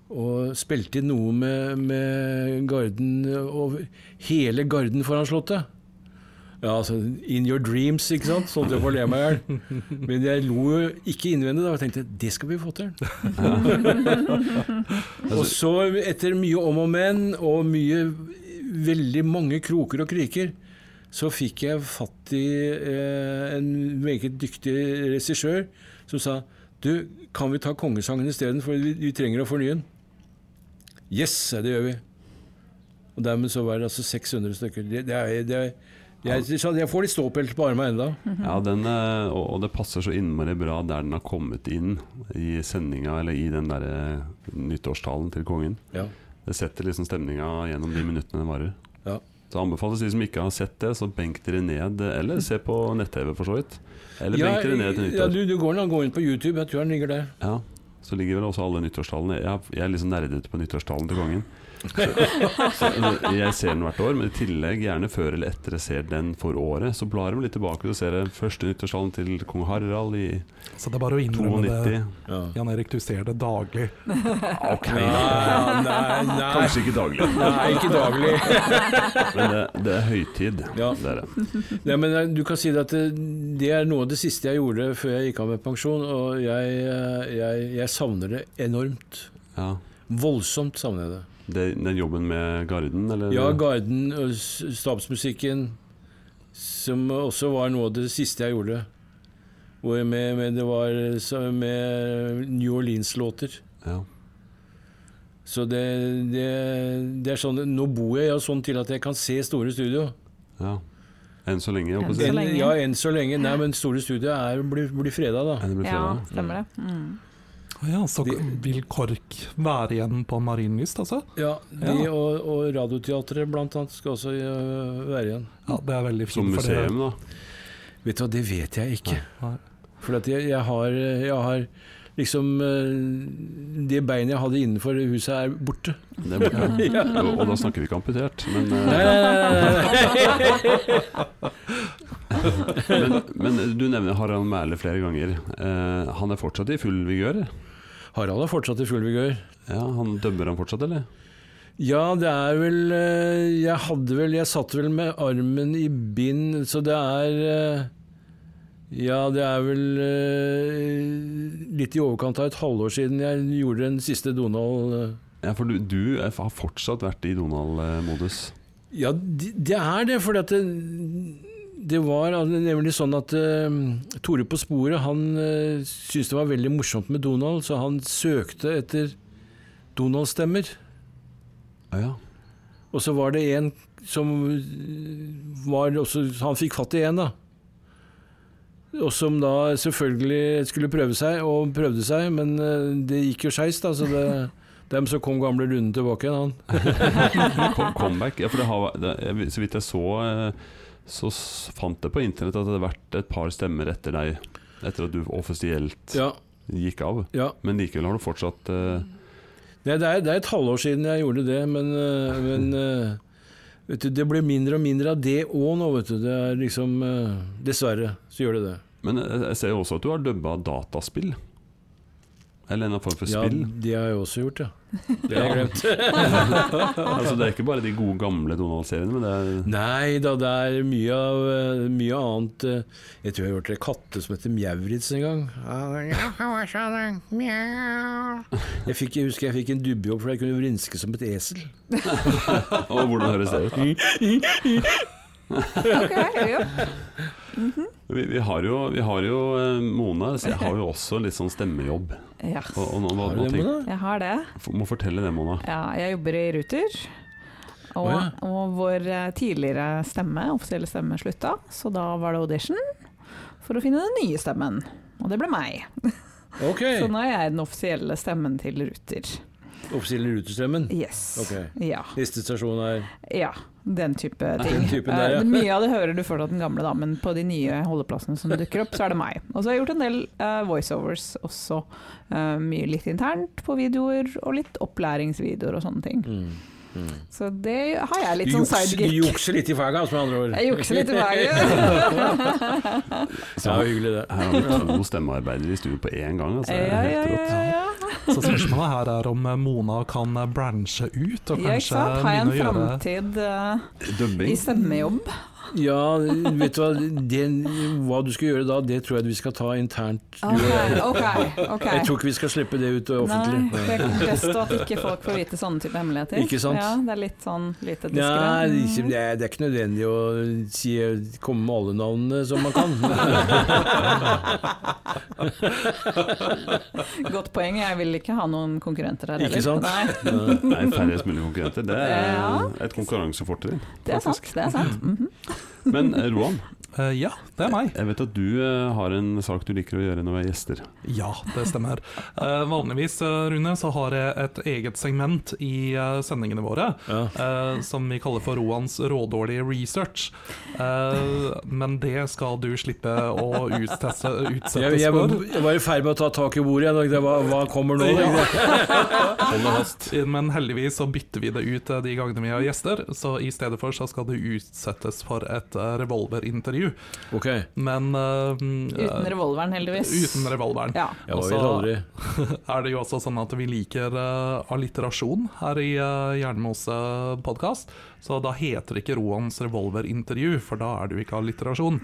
Speaker 4: og spilte inn noe med, med garden og hele garden foran slottet. Ja, altså In your dreams, ikke sant? Sånn at jeg får le meg i hjel. Men jeg lo jo ikke innvendig da og tenkte det skal vi få til. og så, etter mye om og men og mye veldig mange kroker og kriker, så fikk jeg fatt i eh, en meget dyktig regissør som sa du, kan vi ta kongesangen isteden, for vi, vi trenger å fornye den. Yes, sa jeg, det gjør vi. Og dermed så var det altså 600 stykker. Det, det er, det er, jeg, sånn, jeg får litt ståpelt på armene ennå.
Speaker 1: Ja, den, eh, og og det passer så innmari bra der den har kommet inn i sendinga, eller i den derre nyttårstalen til kongen.
Speaker 4: Ja.
Speaker 1: Det setter liksom stemninga gjennom de minuttene den varer.
Speaker 4: Ja.
Speaker 1: Så anbefales de som ikke har sett det, så benk dere ned, eh, eller se på nett-TV for så vidt. Eller
Speaker 4: Ja,
Speaker 1: benk dere ned til
Speaker 4: ja,
Speaker 1: nyttår.
Speaker 4: du, du går, nå- gå inn på YouTube, jeg tror den ligger der.
Speaker 1: Ja, så ligger vel også alle nyttårstalene. Jeg, har- jeg er liksom nerdet på nyttårstalen til kongen. Så, så jeg ser den hvert år, men i tillegg gjerne før eller etter jeg ser den for året. Så blar jeg meg litt tilbake og ser jeg første nyttårstalen til kong Harald i
Speaker 2: Så det er bare å innrømme det.
Speaker 1: 92.
Speaker 4: Ja.
Speaker 2: Jan Erik, du ser det daglig.
Speaker 1: Ok,
Speaker 4: Nei, nei, nei,
Speaker 1: *laughs* kanskje ikke daglig,
Speaker 4: nei, ikke daglig. *laughs*
Speaker 1: men det, det er høytid.
Speaker 4: Ja.
Speaker 1: Det er det.
Speaker 4: Nei, men eh, du kan si det at det, det er noe av det siste jeg gjorde før jeg gikk av med pensjon, og jeg, eh, jeg, jeg savner det enormt.
Speaker 1: Ja.
Speaker 4: Voldsomt savner jeg det.
Speaker 1: Det, den jobben med garden, eller?
Speaker 4: Ja, Garden og s- stabsmusikken, som også var noe av det siste jeg gjorde. Og hvor med, med, det var så- med New Orleans-låter.
Speaker 1: Ja.
Speaker 4: Så det, det, det er sånn Nå bor jeg ja, sånn til at jeg kan se store studio.
Speaker 1: ja. Enn så lenge. holdt på å si.
Speaker 3: Så
Speaker 4: Enn,
Speaker 3: lenge.
Speaker 4: ja, enn så lenge. Nei, men store studio er, blir, blir freda, da.
Speaker 1: Enn det blir
Speaker 3: Ja,
Speaker 1: fredag.
Speaker 3: stemmer det. Mm.
Speaker 2: Å Ja, så
Speaker 4: De-
Speaker 2: vil KORK være igjen på Marienlyst, altså?
Speaker 4: Ja, de
Speaker 2: Ja.
Speaker 4: Og, og Radioteatret blant annet skal også øh, være igjen.
Speaker 2: Ja, det er veldig
Speaker 1: Som
Speaker 2: fint. for det-
Speaker 1: museum, da.
Speaker 4: Vet du hva, det vet jeg ikke.
Speaker 2: Nei.
Speaker 4: For at jeg, jeg, har, jeg har liksom øh, Det beinet jeg hadde innenfor huset, er borte.
Speaker 1: Det er borte.
Speaker 4: Ja.
Speaker 1: Og, og da snakker vi ikke amputert, men,
Speaker 4: *laughs* Nei,
Speaker 1: eh,
Speaker 4: nei, nei, nei, nei.
Speaker 1: men, men du nevner Harald Mæhle flere ganger. Eh, han er fortsatt i full vigør?
Speaker 4: *laughs* Harald er fortsatt i full vigør.
Speaker 1: Ja, han dømmer han fortsatt, eller?
Speaker 4: Ja, det er vel eh, Jeg hadde vel Jeg satt vel med armen i bind, så det er eh, Ja, det er vel eh, litt i overkant av et halvår siden jeg gjorde den siste Donald. eh.
Speaker 1: Ja, for du, du er, har fortsatt vært i Donald-modus.
Speaker 4: Ja, det, det er det, for det, det var al- nemlig sånn at eh, Tore på sporet han eh, syntes det var veldig morsomt med Donald, så han søkte etter Donald-stemmer.
Speaker 1: Ja, ja.
Speaker 4: Og så var det en som eh, var også, Han fikk fatt i en, da. Og som da selvfølgelig skulle prøve seg, og prøvde seg, men eh, det gikk jo skeis, da. Så det, dem som kom gamle runden tilbake igjen, han.
Speaker 1: Kom- Comeback. Ja, for det har, det, jeg- så vidt jeg så, eh, så s- fant jeg på internett at det hadde vært et par stemmer etter deg. Etter at du offisielt
Speaker 4: Ja,
Speaker 1: gikk av.
Speaker 4: ja.
Speaker 1: Men likevel har du fortsatt eh,
Speaker 4: Nei, det, er, det er et halvår siden jeg gjorde det, men, eh, *laughs* men eh, vet du, det blir mindre og mindre av det òg nå, vet du. Det er liksom eh, Dessverre så gjør det det.
Speaker 1: Men jeg jeg ser jo også at du har dubba dataspill. Eller en eller annen form for
Speaker 4: Ja,
Speaker 1: spill.
Speaker 4: det har jeg også gjort, ja. *laughs* Det har jeg glemt.
Speaker 1: Altså, det er ikke bare de gode, gamle Donald-seriene, men det er
Speaker 4: Nei da, det er mye, av, eh, mye annet. eh, Jeg tror jeg har hørt det katte som heter Mjauritz en gang.
Speaker 5: Ja, han var sånn, mjau.
Speaker 4: Jeg, fikk, jeg husker jeg fikk en dubbejobb fordi jeg kunne vrinske som et esel.
Speaker 1: Og hvordan høres det
Speaker 4: *laughs*
Speaker 1: ut?
Speaker 3: Mm. *laughs* Ok, jo.
Speaker 1: Vi, vi har jo, vi har jo eh, Mona, så jeg har jo også litt sånn stemmejobb.
Speaker 3: Ja,
Speaker 1: Og, og nå, hva,
Speaker 4: Har du
Speaker 1: hva
Speaker 4: det,
Speaker 1: tenk,
Speaker 4: Mona?
Speaker 3: jeg har det.
Speaker 1: F- må fortelle det, Mona.
Speaker 3: Ja, jeg jobber i Ruter. Og,
Speaker 4: Å,
Speaker 3: og vår eh, tidligere stemme, offisielle stemme slutta, så da var det audition for å finne den nye stemmen. Og det ble meg.
Speaker 4: Ok.
Speaker 3: Så nå er jeg den offisielle stemmen til Ruter.
Speaker 4: Oppstiller rutestrømmen.
Speaker 3: Yes.
Speaker 4: Ok.
Speaker 3: Ja.
Speaker 4: Neste stasjon er
Speaker 3: ja. Den type ting.
Speaker 4: Den typen der, ja.
Speaker 3: Eh, Mye av det hører du fortsatt den gamle, da, men på de nye holdeplassene som dukker opp, så er det meg. Og så har jeg gjort en del eh, voiceovers også. eh, mye litt internt på videoer, og litt opplæringsvideoer og sånne ting.
Speaker 4: mm.
Speaker 3: Så det har jeg
Speaker 4: Du
Speaker 3: litt sånn
Speaker 4: jukser- Du
Speaker 3: sidekick.
Speaker 4: jukser litt i faget, altså, med andre ord.
Speaker 3: Jeg jukser litt i faget.
Speaker 1: Så
Speaker 4: *laughs* Ja,
Speaker 1: her
Speaker 4: hyggelig det.
Speaker 1: har vi to stemmearbeidere i studio på én gang. Altså.
Speaker 3: ja,
Speaker 1: Det er
Speaker 3: ja, ja,
Speaker 1: helt rått.
Speaker 3: ja, ja.
Speaker 2: Så spørsmålet her er om Mona kan branche ut og
Speaker 3: ja, ikke
Speaker 2: kanskje
Speaker 3: sant. Har jeg en
Speaker 2: begynne å gjøre
Speaker 3: framtid eh,
Speaker 1: Dubbing.
Speaker 3: i stemmejobb?
Speaker 4: Ja, vet du hva. Den, hva du skal gjøre da, det tror jeg vi skal ta internt.
Speaker 3: Ok, ok. ok.
Speaker 4: Jeg tror ikke vi skal slippe det ut eh, offentlig.
Speaker 3: Nei, det er best at ikke folk får vite sånne type hemmeligheter.
Speaker 4: Ikke sant?
Speaker 3: Ja, det er litt sånn lite
Speaker 4: Nei, det Mm. er,
Speaker 3: diskré.
Speaker 4: ikke, det, er, det er ikke nødvendig å si, komme med alle navnene som man *laughs* kan.
Speaker 3: Mm, Godt poeng. Jeg vil ikke ha noen konkurrenter her
Speaker 4: Ikke sant?
Speaker 3: Nei,
Speaker 1: Nei, færrest mulig konkurrenter. Det
Speaker 3: Ja.
Speaker 1: er et konkurransefortrinn.
Speaker 3: det er sant. Det er sant. Mhm.
Speaker 1: Men eh, Roan,
Speaker 2: Eh, ja, det er meg.
Speaker 1: jeg vet at du eh, har en sak du liker å gjøre når vi er gjester.
Speaker 2: Ja, det stemmer. Eh, vanligvis, eh, Rune, så har jeg et eget segment i eh, sendingene våre.
Speaker 4: Ja.
Speaker 2: eh, som vi kaller for Roans rådårlige research. Eh, men det skal du slippe å utteste,
Speaker 4: Jeg,
Speaker 2: utsettes
Speaker 4: jeg, var,
Speaker 2: for.
Speaker 4: jeg var i ferd med å ta tak i bordet igjen. og det var- Hva kommer nå?
Speaker 2: Ja.
Speaker 1: Hold fast.
Speaker 2: Men heldigvis så bytter vi det ut eh, de gangene vi har gjester, så i stedet for så skal det utsettes for et eh, revolverintervju.
Speaker 4: Ok,
Speaker 2: Men eh,
Speaker 3: Uten
Speaker 2: eh,
Speaker 3: revolveren, heldigvis.
Speaker 2: uten revolveren.
Speaker 3: Ja.
Speaker 4: jeg
Speaker 2: Og
Speaker 4: var
Speaker 2: så
Speaker 4: vel aldri
Speaker 2: er det jo også sånn at vi liker eh, alliterasjon her i uh, Jernmose-podkast, så da heter det ikke Roans revolverintervju, for da er det jo ikke alliterasjon.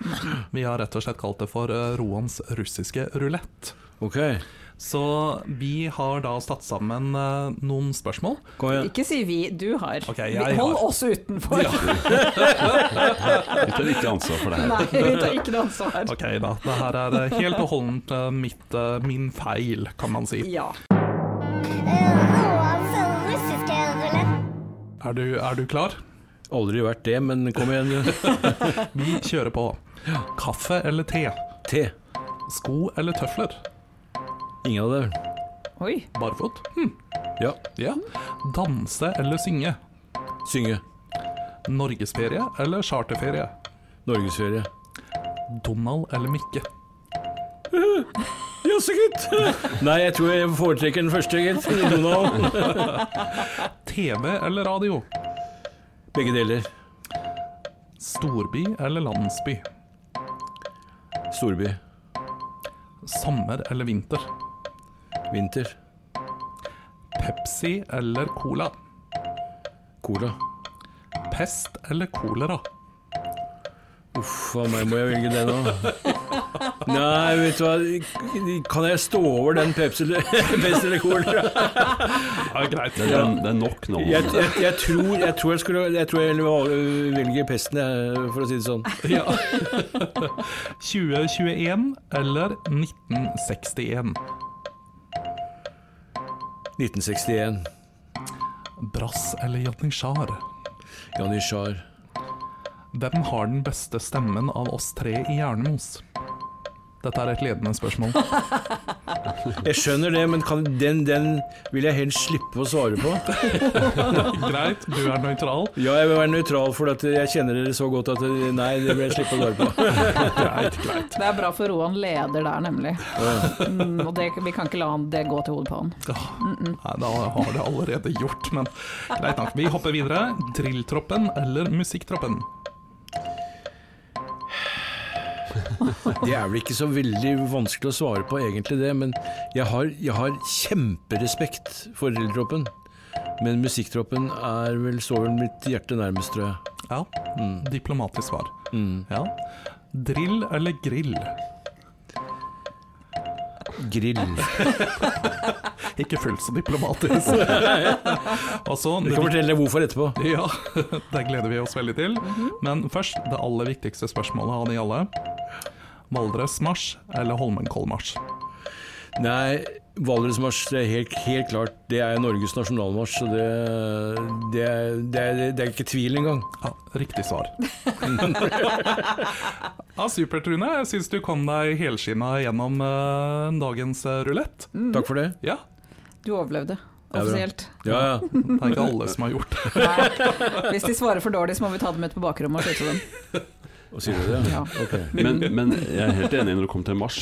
Speaker 2: Vi har rett og slett kalt det for eh, Roans russiske rulett.
Speaker 4: Ok,
Speaker 2: Så vi har da satt sammen eh, noen spørsmål.
Speaker 4: Kom igjen.
Speaker 3: Ikke si vi, du har.
Speaker 2: Ok, jeg
Speaker 3: Vi- Hold
Speaker 2: har.
Speaker 3: oss utenfor.
Speaker 1: Vi tar ikke ansvar for det her.
Speaker 3: *laughs* Nei, vi tar ikke noe ansvar.
Speaker 2: Ok da, det her er eh, helt og holdent eh, mitt, eh, min feil, kan man si.
Speaker 3: Ja.
Speaker 2: Er du, er du klar?
Speaker 4: Aldri vært det, men kom igjen. *laughs*
Speaker 2: Vi kjører på. Kaffe eller te?
Speaker 4: Te.
Speaker 2: Sko eller tøfler?
Speaker 4: Ingen av dem.
Speaker 3: Oi.
Speaker 2: Barfot? Hm.
Speaker 4: Ja.
Speaker 2: Ja. Danse eller synge?
Speaker 4: Synge.
Speaker 2: Norgesferie eller charterferie?
Speaker 4: Norgesferie.
Speaker 2: Donald eller Mikke?
Speaker 4: Jaså, gitt. Nei, jeg tror jeg foretrekker den første, gitt. Donald.
Speaker 2: TV eller radio?
Speaker 4: Begge deler.
Speaker 2: Storby eller landsby?
Speaker 4: Storby.
Speaker 2: Sommer eller vinter?
Speaker 4: Vinter.
Speaker 2: Pepsi eller cola?
Speaker 4: Cola.
Speaker 2: Pest eller kolera?
Speaker 4: Uff a meg, må jeg velge det nå? Nei, vet du hva. Kan jeg stå over den Pepsi eller *laughs* Pepsi eller Cola?
Speaker 2: Ja, greit.
Speaker 1: Det, er- det er nok nå.
Speaker 4: Jeg, jeg, jeg, tror, jeg tror jeg skulle Jeg tror jeg ville valge- velge pesten, jeg, for å si det sånn.
Speaker 2: Ja. *laughs* 2021 eller 1961?
Speaker 4: 1961.
Speaker 2: Brass eller Janitsjar?
Speaker 4: Janitsjar.
Speaker 2: Hvem har den beste stemmen av oss tre i Jernemos? Dette er et ledende spørsmål.
Speaker 4: Jeg skjønner det, men kan, den, den vil jeg helst slippe å svare på.
Speaker 2: Greit, du er nøytral.
Speaker 4: Ja, jeg vil være nøytral, for at jeg kjenner dere så godt at det- Nei, det vil jeg slippe å svare på.
Speaker 2: Greit, greit.
Speaker 3: Det er bra for Roan leder der, nemlig. Mm, og det, vi kan ikke la han det gå til hodet på han.
Speaker 2: Åh, Nei, da har det allerede gjort, men greit nok. Vi hopper videre. Drilltroppen eller Musikktroppen?
Speaker 4: Det er vel ikke så veldig vanskelig å svare på, egentlig, det. Men jeg har, jeg har kjemperespekt for drilltroppen. Men musikktroppen er vel, står vel mitt hjerte nærmest, tror jeg.
Speaker 2: Ja, diplomatisk svar.
Speaker 4: Mm.
Speaker 2: Ja. Drill eller grill?
Speaker 4: Grill.
Speaker 2: Ikke fullt så diplomatisk. Og så
Speaker 4: Jeg kan fortelle deg hvorfor etterpå.
Speaker 2: *laughs* Ja, det gleder vi oss veldig til. Men først det aller viktigste spørsmålet av de alle. Valdresmarsj eller Holmenkollmarsj?
Speaker 4: Nei, Valdresmarsj det er helt, helt klart Det er Norges nasjonalmarsj, så det, det, er- det, er- det er ikke tvil engang.
Speaker 2: Ja, riktig svar. ja, supert, Rune. Jeg syns du kom deg helskinna gjennom eh, dagens eh, rulett.
Speaker 4: Takk for det.
Speaker 2: Ja,
Speaker 3: Du overlevde,
Speaker 4: Ja, bra.
Speaker 3: offisielt.
Speaker 4: Ja, ja.
Speaker 2: *laughs* det er ikke alle som har gjort det.
Speaker 3: Nei. Hvis de svarer for dårlig, så må vi ta dem ut på bakrommet og skyte dem.
Speaker 4: Og sier du det?
Speaker 3: Ja.
Speaker 4: Ok.
Speaker 1: Men, men jeg er helt enig når det kommer til mars.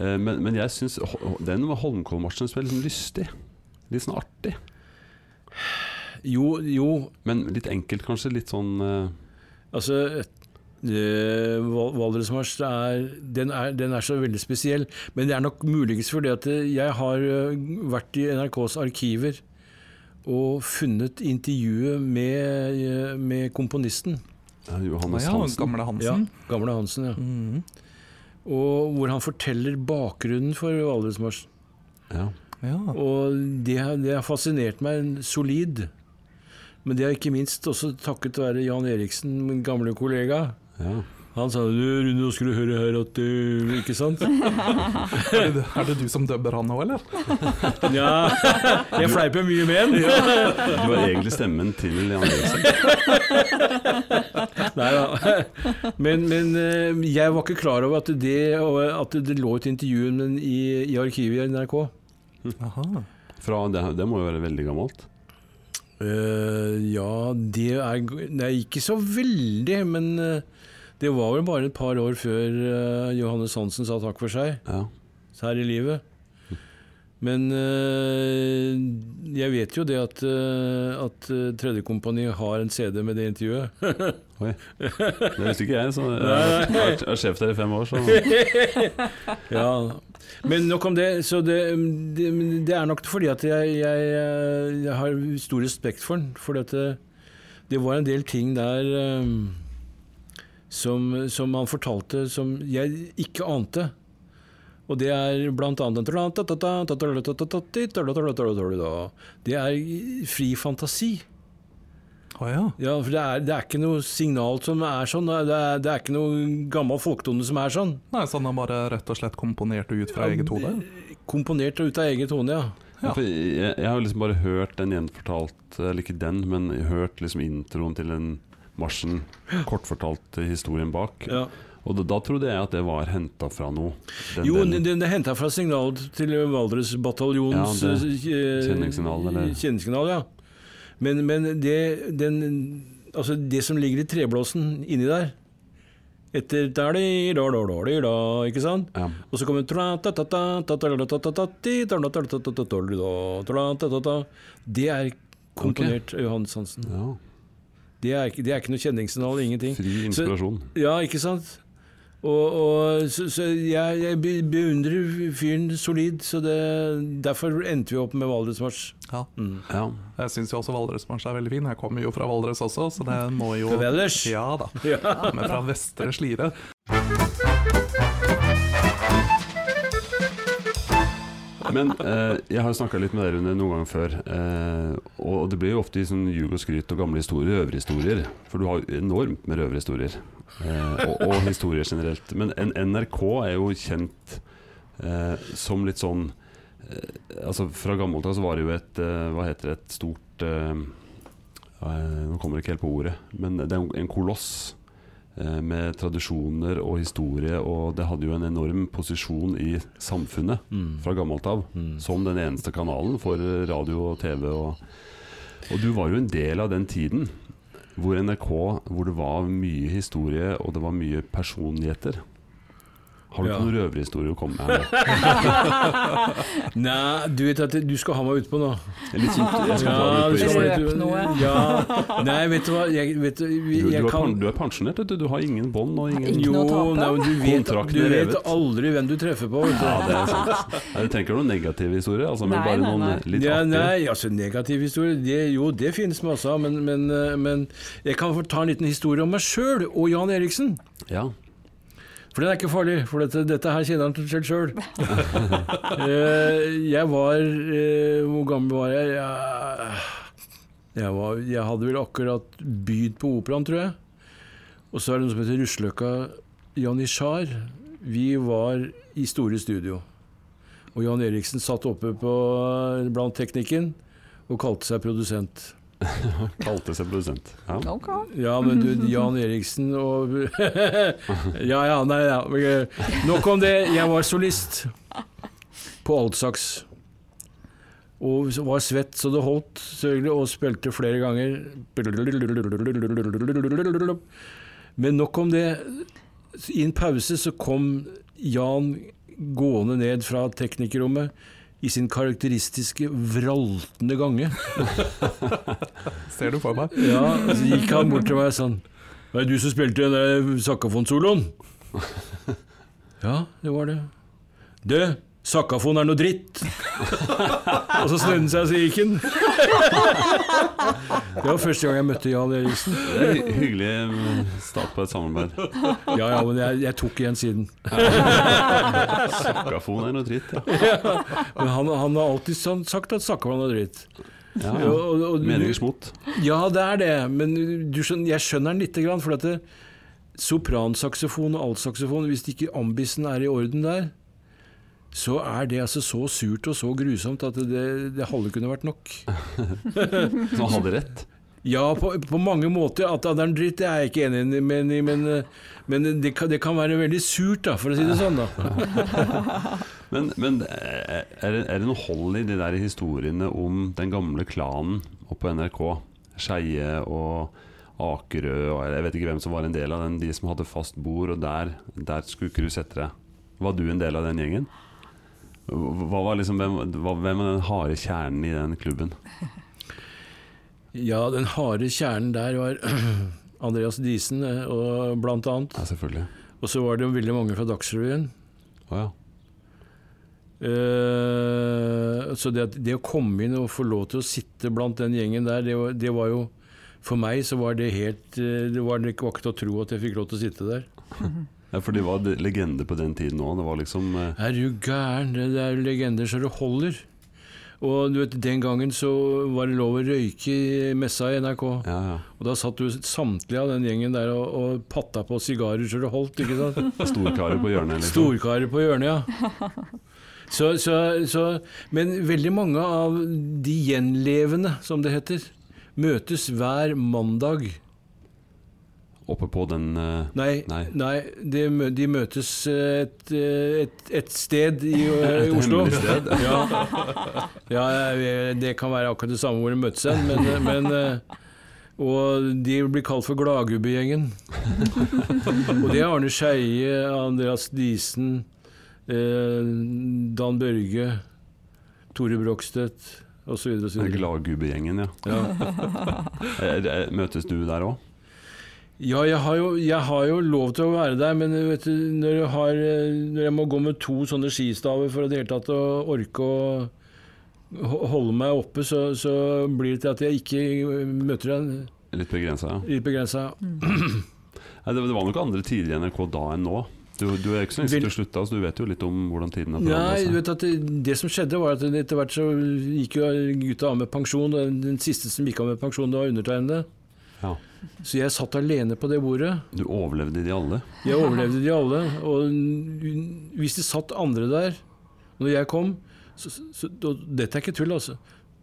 Speaker 1: Eh, Men, men jeg syns ho- den var Holmenkollmarsjen som er litt sånn lystig. Litt sånn artig.
Speaker 4: Jo, jo
Speaker 1: Men litt enkelt, kanskje. Litt sånn eh,
Speaker 4: altså eh, Val- Valdresmarsj det er, den er, den er så veldig spesiell. Men det er nok muligens fordi at eh, jeg har eh, vært i NRKs arkiver og funnet intervjuet med, eh, med komponisten.
Speaker 1: eh, Johannes
Speaker 2: Ja,
Speaker 1: Hansen.
Speaker 2: gamle
Speaker 4: Ja,
Speaker 2: Hansen.
Speaker 4: Gamle Hansen, ja.
Speaker 2: Mhm,
Speaker 4: Og hvor han forteller bakgrunnen for Valdresmarsjen.
Speaker 1: Ja.
Speaker 2: ja.
Speaker 4: Og det, har- det har fascinert meg solid. Men det er ikke minst også takket være Jan Eriksen, min gamle kollega.
Speaker 1: Ja.
Speaker 4: Han sa «Du, Rune, nå skal du høre her at du Ikke sant? *laughs*
Speaker 2: Er, det, er det du som dubber han nå, eller?
Speaker 4: Ja, jeg fleiper mye med *laughs* han.
Speaker 1: Du var egentlig stemmen til Jan Eriksen.
Speaker 4: Nei da. *laughs* Men, men eh, jeg var ikke klar over at det, at det lå et intervju men i, i arkivet i NRK.
Speaker 2: Aha.
Speaker 1: Fra, det, det må jo være veldig gammelt.
Speaker 4: Eh, ja, det er Nei, ikke så veldig, men eh, det var vel bare et par år før eh, Johannes Hansen sa takk for seg
Speaker 1: Ja.
Speaker 4: her i livet. Men eh, jeg vet jo det at, eh, at eh, Tredje Kompani har en CD med det intervjuet. *laughs*
Speaker 1: Oi. Det visste ikke jeg, så eh, jeg har vært- vært vært sjef der i fem år, så
Speaker 4: Ja, Men nok om det. Så det, det, men det er nok fordi at jeg, jeg, eh, jeg har stor respekt for den. For det, det var en del ting der eh, som, som han fortalte som jeg ikke ante. Og det er blant annet Det er fri fantasi.
Speaker 2: Å ja.
Speaker 4: Ja, for det er, det er ikke noe signal som er sånn. Det er, det er ikke noe gammel folketone som er sånn.
Speaker 2: Nei, så han har bare rett og slett komponert det ut fra eget hode?
Speaker 4: Komponert ut av eget hode, ja.
Speaker 2: Ja.
Speaker 1: Ja, for jeg, jeg har jo liksom bare hørt den gjenfortalt eh, Eller ikke den, men hørt liksom introen til den marsjen. Kortfortalt eh, historien bak.
Speaker 4: ja.
Speaker 1: Og da, da trodde jeg at det var henta fra noe. Den,
Speaker 4: Jo,
Speaker 1: den-
Speaker 4: det, det er henta fra signal til Valdres bataljons
Speaker 1: Ja,
Speaker 4: eh,
Speaker 1: kjenningssignal, eller-
Speaker 4: kjenningssignal, ja. Men, men det, den, altså det som ligger i treblåsen inni der Etter der de, da, da, da, de, da, ikke sant?
Speaker 1: ja.
Speaker 4: Og så kommer Det er komponert av Johannes Hansen.
Speaker 1: ja.
Speaker 4: Det er, ikke- det er ikke noe kjenningssignal, ingenting.
Speaker 1: Fri inspirasjon.
Speaker 4: Ja, ikke sant? Og, og så, så jeg, jeg be- beundrer fyren solid, så det, derfor endte vi opp med Valdresmarsj.
Speaker 2: Ja.
Speaker 1: Ja.
Speaker 2: Jeg syns jo også Valdresbransjen er veldig fin. Jeg kommer jo fra Valdres også, så det må jo
Speaker 4: Fra Valdres?
Speaker 2: Ja da. Men fra Vestre Slidre.
Speaker 1: Men eh, jeg har snakka litt med dere under noen ganger før. Eh, og det blir jo ofte i sånn ljug og skryt og gamle historier, røverhistorier. For du har jo enormt med røverhistorier. Eh, og, og historier generelt. Men N NRK er jo kjent eh, som litt sånn eh, Altså Fra gammelt av så var det jo et eh, Hva heter det? Et stort eh, eh, Nå kommer det ikke helt på ordet. Men det er en koloss. eh, Med tradisjoner og historie, og det hadde jo en enorm posisjon i samfunnet
Speaker 4: Mm.
Speaker 1: fra gammelt av. Som den eneste kanalen for radio og TV. Og, og du var jo en del av den tiden hvor NRK hvor det var mye historie og det var mye personligheter. Har du
Speaker 4: Ja.
Speaker 1: ikke noen røverhistorie å komme med?
Speaker 4: *laughs*
Speaker 1: her nå?
Speaker 4: Nei, du vet at du skal ha meg utpå nå.
Speaker 1: Litt sånn, jeg skal ta
Speaker 4: Ja,
Speaker 1: det ut
Speaker 4: du
Speaker 1: på jobben.
Speaker 4: skal ha meg ut på-
Speaker 3: Røp noe.
Speaker 4: Ja. Nei, vet du hva jeg, vet, du,
Speaker 1: du,
Speaker 4: vi-
Speaker 1: du,
Speaker 4: jeg
Speaker 1: er,
Speaker 4: kan
Speaker 1: pen- du er pensjonert, vet du. Du har ingen bånd og ingen
Speaker 3: Ikke noe å
Speaker 4: Jo,
Speaker 3: tape.
Speaker 4: nei, men du vet,
Speaker 1: Kontrakten
Speaker 4: du
Speaker 1: er
Speaker 4: vet
Speaker 1: revet.
Speaker 4: aldri hvem du treffer på. Vet du.
Speaker 1: Ja, det er sant. Nei, Du trenger ikke noen negative historier, altså, men
Speaker 3: Nei,
Speaker 1: bare
Speaker 3: nei,
Speaker 1: noen
Speaker 3: nei.
Speaker 1: litt
Speaker 4: ja,
Speaker 1: artige.
Speaker 4: Nei, altså negativ historie det, Jo, det finnes masse av, men, men, eh, men jeg kan få ta en liten historie om meg sjøl og Jan Eriksen.
Speaker 1: Ja.
Speaker 4: For den er ikke farlig, for dette, dette her kjenner han til selv sjøl. jeg var eh, Hvor gammel var jeg? Jeg, jeg, var, jeg hadde vel akkurat begynt på operaen, tror jeg. Og så er det noe som heter Russeløkka Janitsjar. Vi var i store studio. Og Jan Eriksen satt oppe på, blant teknikken og kalte seg produsent.
Speaker 1: Kalte seg produsent. Ja.
Speaker 3: Ok.
Speaker 4: Ja, men du, Jan Eriksen og *laughs* Ja, ja, nei, ja. ok. Nok om det. Jeg var solist på altsaks. Og var svett så det holdt, selvfølgelig, og spilte flere ganger. Men nok om det. I en pause så kom Jan gående ned fra teknikerrommet i sin karakteristiske vraltende gange.
Speaker 2: Ser du for meg?
Speaker 4: Ja, så gikk han bort til meg sånn Var det du som spilte den der sakkafonsoloen? Ja, det var det. Du, sakkafon er noe dritt! *laughs* og så snudde han seg, og så gikk han. *laughs* det var første gang jeg møtte Jan Eriksen.
Speaker 1: Det er hy- hyggelig mm, start på et samarbeid.
Speaker 4: Ja, ja, men jeg, jeg tok igjen siden.
Speaker 1: Sakkafon er noe dritt, ja.
Speaker 4: Men han, han har alltid sånn sagt at sakkafon er dritt.
Speaker 1: ja,
Speaker 4: Og,
Speaker 1: ja.
Speaker 4: og, og,
Speaker 1: Meningsmålt.
Speaker 4: Ja, det er det, men du skjønner, jeg skjønner den lite grann. For at det- sopransaksofon og altsaksofon, hvis ikke ambisen er i orden der, så er det altså så surt og så grusomt at det, det halve kunne vært nok.
Speaker 1: Så han hadde rett.
Speaker 4: Ja, på, på mange måter. At det er en dritt, det er jeg ikke enig i, men, men, men det, kan, det kan være veldig surt, da, for å si det sånn. da.
Speaker 1: Men, men eh, er, det, er det noe hold i de der historiene om den gamle klanen oppe på NRK? Skeie og Akerø og jeg vet ikke hvem som var en del av den. De som hadde fast bord, og der, der skulle ikke du sette deg. Var du en del av den gjengen? Hva var liksom, hvem, hva- hvem var den harde kjernen i den klubben?
Speaker 4: Ja, den harde kjernen der var *clears throat* Andreas Diesen, eh, og blant annet.
Speaker 1: Ja, selvfølgelig.
Speaker 4: Og så var det jo veldig mange fra Dagsrevyen.
Speaker 1: Å ja.
Speaker 4: Eh, så det, at, det å komme inn og få lov til å sitte blant den gjengen der, det var, det var jo For meg så var det helt eh, Det var det var ikke til å tro at jeg fikk lov til å sitte der.
Speaker 1: Ja, for de var de- legende på den tiden òg. Det var liksom eh,
Speaker 4: Er du gæren? Det det er jo legender så det holder. Og du vet, Den gangen så var det lov å røyke i messa i NRK.
Speaker 1: Ja, ja.
Speaker 4: Og da satt jo samtlige av den gjengen der og, og patta på sigarer så det holdt. ikke sant?
Speaker 1: Storkarer på hjørnet. Liksom.
Speaker 4: Storkarer på hjørnet, ja.
Speaker 1: *laughs*
Speaker 4: Så, så, så, men veldig mange av de gjenlevende, som det heter, møtes hver mandag.
Speaker 1: Oppe på den eh,
Speaker 4: Nei, nei.
Speaker 1: Nei.
Speaker 4: de, mø- de møtes et, et, et sted i, eh,
Speaker 1: *laughs*
Speaker 4: i
Speaker 1: Et
Speaker 4: Oslo.
Speaker 1: hemmelig sted.
Speaker 4: Ja. *laughs* ja, eh, det kan være akkurat det samme hvor de møtes hen,
Speaker 1: *laughs*
Speaker 4: men, eh, men eh, Og de blir kalt for Gladgubbegjengen. Og det er Arne Skeie, Andreas Diesen, eh, Dan Børge, Tore Brogstøt osv.
Speaker 1: den
Speaker 4: osv.
Speaker 1: Gladgubbegjengen, ja.
Speaker 4: Ja.
Speaker 1: *laughs* Eh, eh, Møtes du der òg?
Speaker 4: Ja, jeg har, jo, jeg har jo lov til å være der, men vet du, når, jeg har, når jeg må gå med to sånne skistaver for å det hele tatt å orke å ho- holde meg oppe, så, så blir det til at jeg ikke møter deg
Speaker 1: Litt begrensa, ja.
Speaker 4: litt begrensa.
Speaker 1: Nei, det, det var nok andre tider i NRK da enn nå. Du, du er ikke så lenge siden du slutta, så du vet jo litt om hvordan tiden har
Speaker 4: Nei, du
Speaker 1: forandra seg.
Speaker 4: vet at det, altså. det som skjedde var at etter hvert så gikk jo gutta av med pensjon. og Den siste som gikk av med pensjon, det var undertegnede.
Speaker 1: Ja.
Speaker 4: Så jeg satt alene på det bordet.
Speaker 1: Du overlevde de alle.
Speaker 4: Jeg overlevde de alle. Og hvis det satt andre der når jeg kom så, så, og Dette er ikke tull, altså.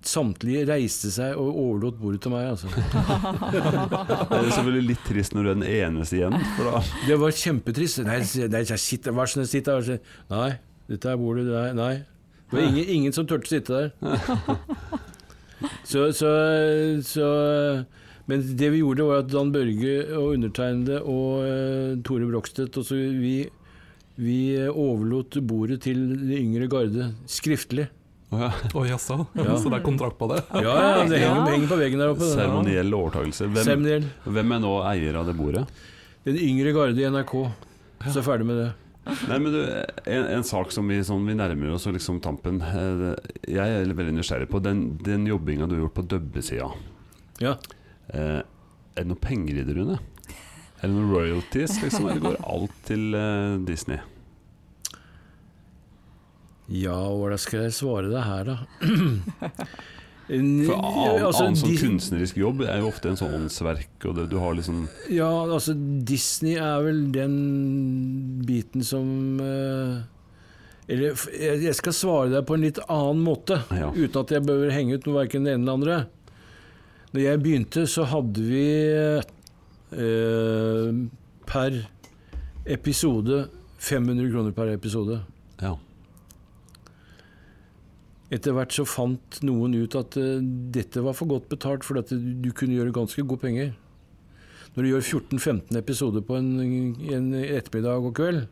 Speaker 4: Samtlige reiste seg og overlot bordet til meg. Altså.
Speaker 1: Eh, Det er selvfølgelig litt trist når du er den eneste igjen. For da,
Speaker 4: Det var kjempetrist. Nei, s- nei jeg sitter, hva sånn, sitter her og sier Nei, dette er bordet. Nei. nei. Det var ingen, ingen som turte å sitte der. Så, så, så Men det vi gjorde, var at Dan Børge og undertegnede og eh, Tore Brogstøt også, vi, vi eh, overlot bordet til de yngre garde skriftlig.
Speaker 1: Å ja.
Speaker 2: Å jaså,
Speaker 4: Ja.
Speaker 2: så det er kontrakt på det?
Speaker 4: Ja, ja, det henger,
Speaker 3: Ja.
Speaker 4: henger på veggen der oppe. det.
Speaker 1: *laughs* Seremoniell overtakelse. Hvem,
Speaker 4: Seremoniell.
Speaker 1: hvem er nå eier av det bordet?
Speaker 4: Den yngre garde i NRK. Så er jeg ferdig med det.
Speaker 1: Nei, men du, en, en sak som vi, sånn, vi nærmer oss og liksom tampen eh, Jeg er veldig nysgjerrig på den, den jobbinga du har gjort på dubbesida.
Speaker 4: Ja.
Speaker 1: Eh, er det noe penger i det, Rune? Er det noen royalties? Liksom, eller går alt til eh, Disney?
Speaker 4: Ja, hvordan skal jeg svare deg her, da?
Speaker 1: For annen,
Speaker 4: Altså,
Speaker 1: annen sånn
Speaker 4: Dis-
Speaker 1: kunstnerisk jobb er jo ofte en sånn åndsverk, og det, du har liksom
Speaker 4: Ja, altså Disney er vel den biten som eh, Eller f- jeg jeg skal svare deg på en litt annen måte,
Speaker 1: Ja.
Speaker 4: uten at jeg behøver henge ut noe verken det ene eller det andre. Når jeg begynte, så hadde vi eh, per episode 500 kroner per episode.
Speaker 1: Ja.
Speaker 4: Etter hvert så fant noen ut at eh, dette var for godt betalt, for at du, du kunne gjøre ganske gode penger. Når du gjør 14-15 episoder på en, en ettermiddag og kveld,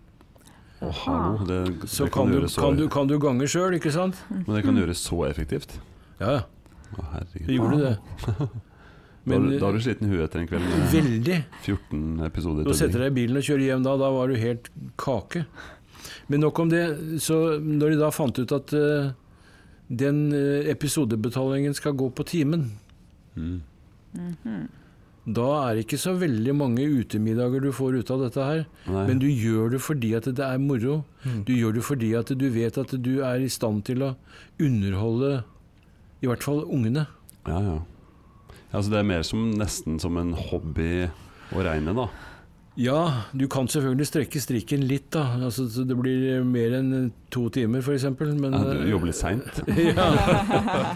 Speaker 1: Å, hallo. Det,
Speaker 4: så
Speaker 1: det
Speaker 4: kan, du,
Speaker 1: gjøres så,
Speaker 4: kan, du, kan du gange sjøl, ikke sant?
Speaker 1: Men det kan gjøres så effektivt.
Speaker 4: Ja, ja,
Speaker 1: Å, herregud.
Speaker 4: det gjorde det.
Speaker 1: da,
Speaker 4: Men
Speaker 1: har du- da har du sliten i huet etter en kveld
Speaker 4: eh,
Speaker 1: med
Speaker 4: veldig.
Speaker 1: 14 episoder.
Speaker 4: Nå setter
Speaker 1: dubbing.
Speaker 4: jeg deg i bilen og kjører hjem da, da var du helt kake. Men nok om det. Så når de da fant ut at eh, den eh, episodebetalingen skal gå på timen, Mhm.
Speaker 1: Mm.
Speaker 4: da er det ikke så veldig mange utemiddager du får ut av dette her.
Speaker 1: Nei.
Speaker 4: Men du gjør det fordi at det er moro.
Speaker 2: Mm.
Speaker 4: Du gjør det fordi at du vet at du er i stand til å underholde i hvert fall ungene.
Speaker 1: Ja, ja. Altså, det er mer som, nesten som en hobby å regne, da.
Speaker 4: Ja, du kan selvfølgelig strekke strikken litt, da. Altså, så det blir mer enn eh, to timer, f.eks. Men eh,
Speaker 1: Ja, du jobber litt seint.
Speaker 4: *laughs* ja.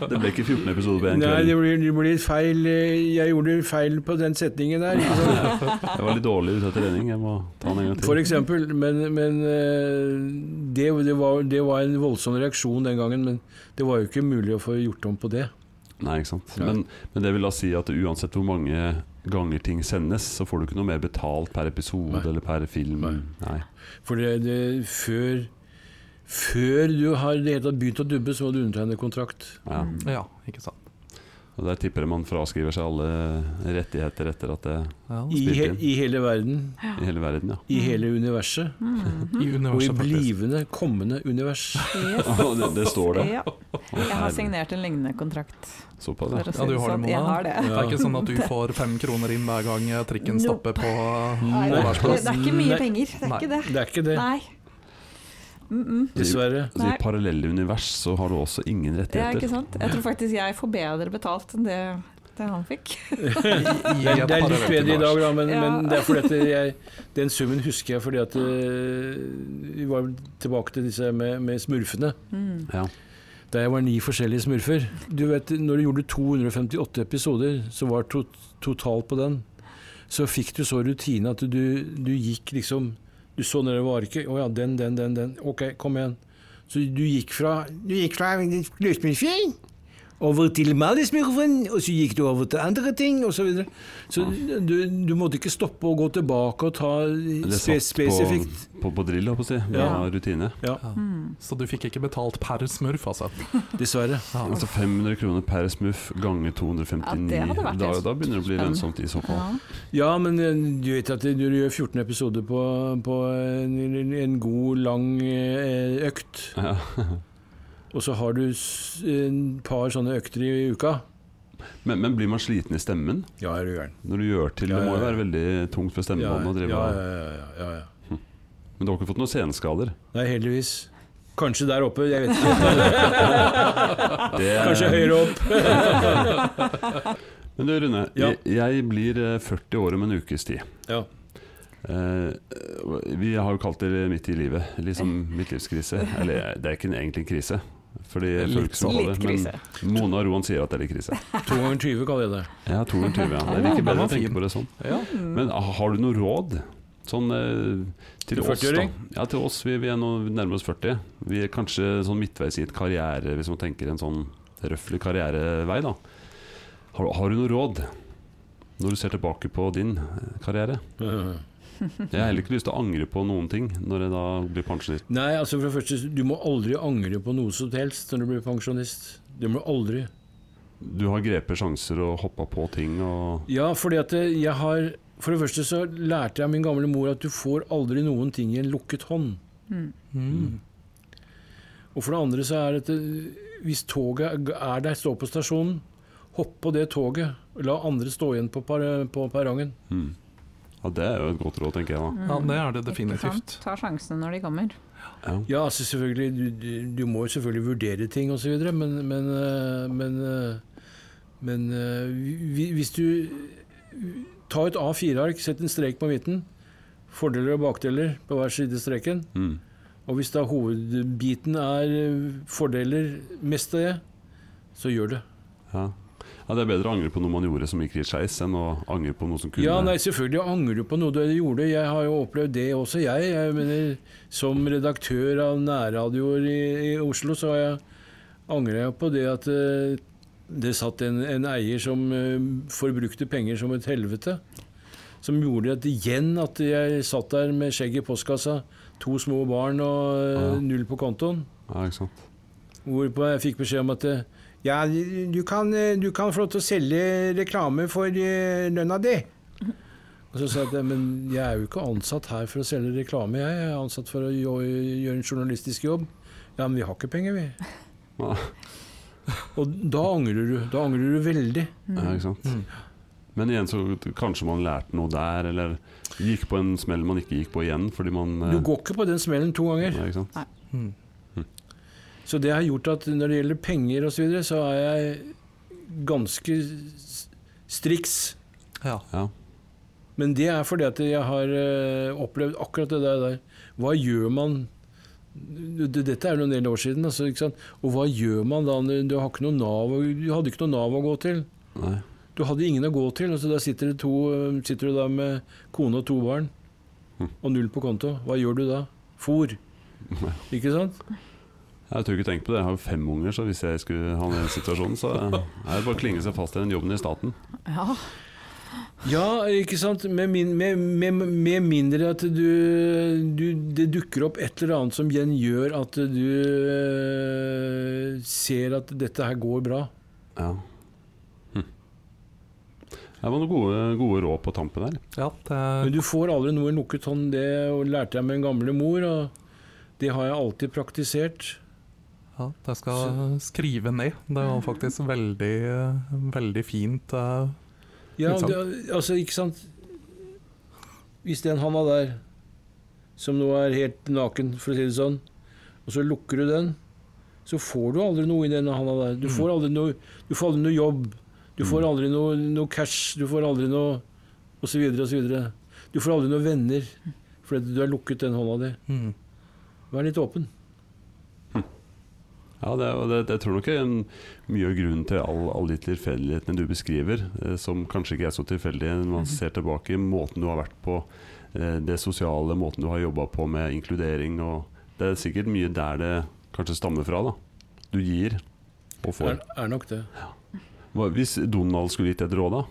Speaker 1: Det ble ikke 14 episoder på én
Speaker 4: Nei, det
Speaker 1: kveld.
Speaker 4: blir, det blir feil eh, Jeg gjorde feil på den setningen der, ikke sant?
Speaker 1: Jeg var litt dårlig ute av trening. Jeg må ta den en gang
Speaker 4: For
Speaker 1: til.
Speaker 4: eksempel. Men, men eh, det, det, var, det var en voldsom reaksjon den gangen, men det var jo ikke mulig å få gjort om på det.
Speaker 1: Nei, ikke sant?
Speaker 4: Ja.
Speaker 1: Men, men det vil da si at uansett hvor mange ganger ting sendes, så får du ikke noe mer betalt per episode
Speaker 4: Nei.
Speaker 1: eller per film.
Speaker 4: Nei.
Speaker 1: Nei.
Speaker 4: For det, det, før, før du har i det hele tatt begynt å dubbe, så må du undertegne kontrakt.
Speaker 1: Ja.
Speaker 2: Ja, ikke sant.
Speaker 1: Og Der tipper jeg man fraskriver seg alle rettigheter etter at det
Speaker 2: Ja.
Speaker 4: I, he, I hele verden,
Speaker 1: i hele verden, ja. *laughs*
Speaker 4: i hele universet,
Speaker 3: Mm, hm.
Speaker 2: *laughs* I
Speaker 4: og i
Speaker 2: universet, faktisk.
Speaker 4: blivende, kommende univers.
Speaker 3: Yes.
Speaker 1: Og det, det står det.
Speaker 3: Ja. Jeg har signert en lignende kontrakt.
Speaker 1: Såpass, ja.
Speaker 3: For å si
Speaker 2: Ja, du
Speaker 3: det
Speaker 2: har det
Speaker 3: sånn.
Speaker 2: med
Speaker 3: Jeg
Speaker 2: deg.
Speaker 3: har det.
Speaker 2: Det er ikke sånn at du får fem kroner inn hver gang trikken
Speaker 3: Nope.
Speaker 2: stopper på
Speaker 3: Nei, det, er ikke,
Speaker 2: overplass.
Speaker 3: det er ikke mye
Speaker 4: Nei.
Speaker 3: penger. Det er ikke det.
Speaker 4: Det er ikke det,
Speaker 3: Nei. Mm -mm.
Speaker 4: dessverre.
Speaker 1: Altså, I parallelle univers så har du også ingen
Speaker 3: Det er ikke
Speaker 1: rettigheter.
Speaker 3: sant. Jeg tror faktisk jeg får bedre betalt enn det, det han fikk.
Speaker 4: Det er, det er litt bedre i dag, da, men,
Speaker 3: Ja.
Speaker 4: men det er fordi at jeg, den summen husker jeg fordi at eh, Vi var tilbake til disse med, med smurfene.
Speaker 3: Mm.
Speaker 1: Ja.
Speaker 4: Da jeg var ni forskjellige smurfer. Du vet, når du gjorde 258 episoder, som var to totalt på den, så fikk du så rutine at du, du gikk liksom Du så nedover arket. Å ja, den, den, den, den. Ok, kom igjen. Så du gikk fra
Speaker 5: Du gikk fra lysmurfing
Speaker 4: over til Malismurfen, og så gikk du over til andre ting, osv. Så, videre. så du, du måtte ikke stoppe og gå tilbake og ta
Speaker 1: Eller
Speaker 4: spe
Speaker 1: satt
Speaker 4: spesifikt.
Speaker 1: på, på, på drill, holdt jeg på å si. Ja.
Speaker 4: Ja.
Speaker 1: Rutine.
Speaker 3: Mm.
Speaker 2: Så du fikk ikke betalt per smurf, altså?
Speaker 4: Dessverre.
Speaker 1: Altså 500 kroner per smuff ganger 259.
Speaker 3: Ja, det hadde vært
Speaker 1: da,
Speaker 3: helt
Speaker 1: da begynner det å bli
Speaker 3: spennende.
Speaker 1: lønnsomt i så fall.
Speaker 3: Ja.
Speaker 4: Ja, men eh, du vet at du gjør 14 episoder på, på en, en god, lang eh, økt,
Speaker 1: Ja. *laughs*
Speaker 4: og så har du s- en par sånne økter i uka.
Speaker 1: Men, men blir man sliten i stemmen
Speaker 4: Ja, er du gæren.
Speaker 1: når du gjør til? Det
Speaker 4: Ja,
Speaker 1: må jo
Speaker 4: ja, ja.
Speaker 1: være veldig tungt for
Speaker 4: Ja,
Speaker 1: stemmebåndet å
Speaker 4: ja,
Speaker 1: drive
Speaker 4: ja,
Speaker 1: av.
Speaker 4: ja, ja, ja.
Speaker 1: Men du har ikke fått noen seneskader?
Speaker 4: Nei, heldigvis. Kanskje der oppe, jeg vet ikke. *laughs*
Speaker 1: Det,
Speaker 4: Ah, Kanskje høyere opp.
Speaker 1: Men du Rune,
Speaker 4: Ja.
Speaker 1: jeg, jeg blir eh, 40 år om en ukes tid.
Speaker 4: Ja.
Speaker 1: Eh, vi har jo kalt det midt i livet. Liksom midtlivskrise. Eller eh, det er ikke en, egentlig en krise. Fordi jeg føler
Speaker 2: Litt
Speaker 1: ikke så på
Speaker 3: Litt
Speaker 1: det, men
Speaker 3: krise.
Speaker 1: Mona og Roan sier at det er litt krise.
Speaker 4: To ganger 20 kaller jeg det.
Speaker 1: Jeg har 22, ja. Det er like bedre å tenke på det sånn.
Speaker 2: Ja.
Speaker 1: Men ah, har du noe råd? Sånn eh, til
Speaker 4: Til
Speaker 1: oss, da.
Speaker 4: 40-åring?
Speaker 1: Ja, til oss. Vi, vi er nå vi nærmer oss 40. Vi er kanskje sånn midtveis i et karriere, hvis man tenker en sånn røffelig karrierevei, da. Har, har du noe råd? Når du ser tilbake på din eh, karriere? Jeg har heller ikke lyst til å angre på noen ting når jeg da blir pensjonist.
Speaker 4: Nei, altså for det første, du må aldri angre på noe som helst når du blir pensjonist. Du må aldri.
Speaker 1: Du har grepet sjanser og hoppa på ting og
Speaker 4: Ja, fordi at eh, jeg har For det første så lærte jeg av min gamle mor at du får aldri noen ting i en lukket hånd.
Speaker 2: Mm.
Speaker 4: Og for det andre så er det at eh, hvis toget er der, stå på stasjonen, hopp på det toget. La andre stå igjen på, par, på perrongen.
Speaker 1: mm. Ja, det er jo et godt råd, tenker jeg
Speaker 4: mm.
Speaker 1: da.
Speaker 2: ja, det er det
Speaker 3: Ikke sant?
Speaker 2: definitivt.
Speaker 3: Ta sjansene når de kommer.
Speaker 1: Ja.
Speaker 4: Ja, altså selvfølgelig, du, du, du må jo selvfølgelig vurdere ting osv., men, men, eh, men, eh, men eh, hvi- hvis du Ta et A4-ark, sett en strek på midten. Fordeler og bakdeler på hver side av streken.
Speaker 1: Mm.
Speaker 4: Og hvis da hovedbiten er eh, fordeler, mest av det, så gjør det.
Speaker 1: Ja. ja, det er bedre å angre på noe man gjorde som gikk litt skeis, enn å angre på noe som kunne
Speaker 4: Ja, nei, selvfølgelig angrer du på noe du gjorde. Jeg har jo opplevd det også, jeg. jeg mener, som redaktør av nærradioer i, i Oslo, så har jeg, angrer jeg på det at eh, det satt en, en eier som eh, forbrukte penger som et helvete. Som gjorde at igjen at jeg satt der med skjegg i postkassa, to små barn og eh,
Speaker 1: Ja.
Speaker 4: null på kontoen.
Speaker 1: Ja, ikke sant?
Speaker 4: Hvorpå jeg fikk beskjed om at eh,
Speaker 5: Ja, du kan, du kan få lov til å selge reklame for eh, lønna di.
Speaker 4: Og så sa jeg at men jeg er jo ikke ansatt her for å selge reklame, jeg. Jeg er ansatt for å jo- gjøre en journalistisk jobb. Ja, men vi har ikke penger, vi.
Speaker 1: Ja,
Speaker 4: *laughs* Og da angrer du. Da angrer du veldig.
Speaker 1: ja, ikke sant?
Speaker 2: Mm.
Speaker 1: Men igjen så kanskje man lærte noe der, eller gikk på en smell man ikke gikk på igjen fordi man eh,
Speaker 4: Du går ikke på den smellen to ganger.
Speaker 1: ja, ikke sant?
Speaker 2: Mm.
Speaker 4: Så det har gjort at når det gjelder penger osv., så, videre, så er jeg ganske s- striks.
Speaker 2: Ja.
Speaker 1: Ja.
Speaker 4: Men det er fordi at jeg har eh, opplevd akkurat det der. Hva gjør man D- Dette er jo en del år siden. Altså, ikke sant? Og hva gjør man da? når Du, har ikke noe NAV, å- du hadde ikke noe Nav å gå til.
Speaker 1: Nei.
Speaker 4: Du hadde ingen å gå til. Altså, da sitter, det to, eh, sitter du da med kone og to barn og null på konto. Hva gjør du da? Fôr. Ikke sant?
Speaker 1: Jeg tør ikke tenke på det. Jeg har jo fem unger, så hvis jeg skulle ha den situasjonen, så eh, er det bare å klinge seg fast i den jobben i staten.
Speaker 3: Ja.
Speaker 4: Ja, ikke sant? Med, min, med, med, med mindre at du, du Det dukker opp et eller annet som gjengjør at du eh, ser at dette her går bra.
Speaker 1: Ja. Hm. Det var noen gode, gode råd på tampen her.
Speaker 2: Ja,
Speaker 4: Men
Speaker 2: det,
Speaker 4: du får aldri noe lukket hånd. Det og lærte jeg med en gamle mor, og det har jeg alltid praktisert.
Speaker 2: ja, det skal skrive ned. Det var faktisk veldig, eh, veldig fint. eh,
Speaker 4: Ja,
Speaker 2: Ikke sant?
Speaker 4: det, altså, ikke sant Hvis den handa der, som nå er helt naken, for å si det sånn, og så lukker du den, så får du aldri noe i den handa der. Du får aldri noe, du får aldri noe jobb. Du får aldri noe, noe cash. Du får aldri noe Og så videre og så videre. Du får aldri noen venner fordi du har lukket den hånda di.
Speaker 2: Mm.
Speaker 4: Vær litt åpen.
Speaker 1: Ja, det, og det, det tror jeg nok er en, mye av grunnen til alle all de tilfeldighetene du beskriver, eh, som kanskje ikke er så tilfeldige når
Speaker 4: Mhm.
Speaker 1: man ser tilbake i måten du har vært på, eh, det sosiale, måten du har jobba på med inkludering og Det er sikkert mye der det kanskje stammer fra, da. Du gir og
Speaker 4: Er,
Speaker 1: får.
Speaker 4: er nok det.
Speaker 1: Hva, hvis Donald skulle gitt et råd, da?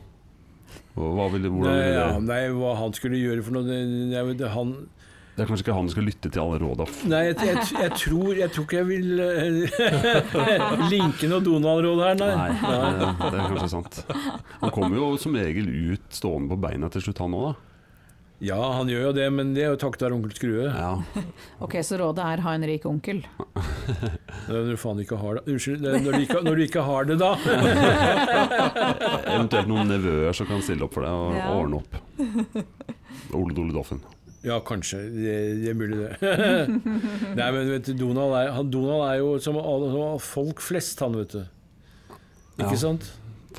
Speaker 1: Hva hva ville, hvordan
Speaker 4: Nei,
Speaker 1: ville
Speaker 4: ja,
Speaker 1: det
Speaker 4: nei, hva han skulle gjøre for noe det, jeg vet, han,
Speaker 1: Det er kanskje ikke han som skal lytte til alle råda.
Speaker 4: Nei, jeg, jeg, jeg, tror, jeg tror ikke jeg vil eh, *laughs* linke noe Donald-råd her, nei.
Speaker 1: Nei, det, det er kanskje sant. Han kommer jo som regel ut stående på beina til slutt, han òg, da.
Speaker 4: Ja, han gjør jo det, men det er jo takket være onkel Skrue.
Speaker 1: Ja.
Speaker 3: Ok, så rådet er ha en rik onkel.
Speaker 4: Det er Når du faen ikke har det Unnskyld, det er når du ikke, når du ikke
Speaker 1: *laughs*
Speaker 4: har det, da.
Speaker 1: Eventuelt noen nevøer som kan stille opp for deg og
Speaker 3: Ja.
Speaker 1: og ordne opp. Ole Dole Doffen.
Speaker 4: Ja, kanskje. Det, det er mulig, det. *laughs* nei, men vet du, Donald er, han, Donald er jo som, alle- som folk flest, han, vet du. Ikke
Speaker 1: Ja.
Speaker 4: sant?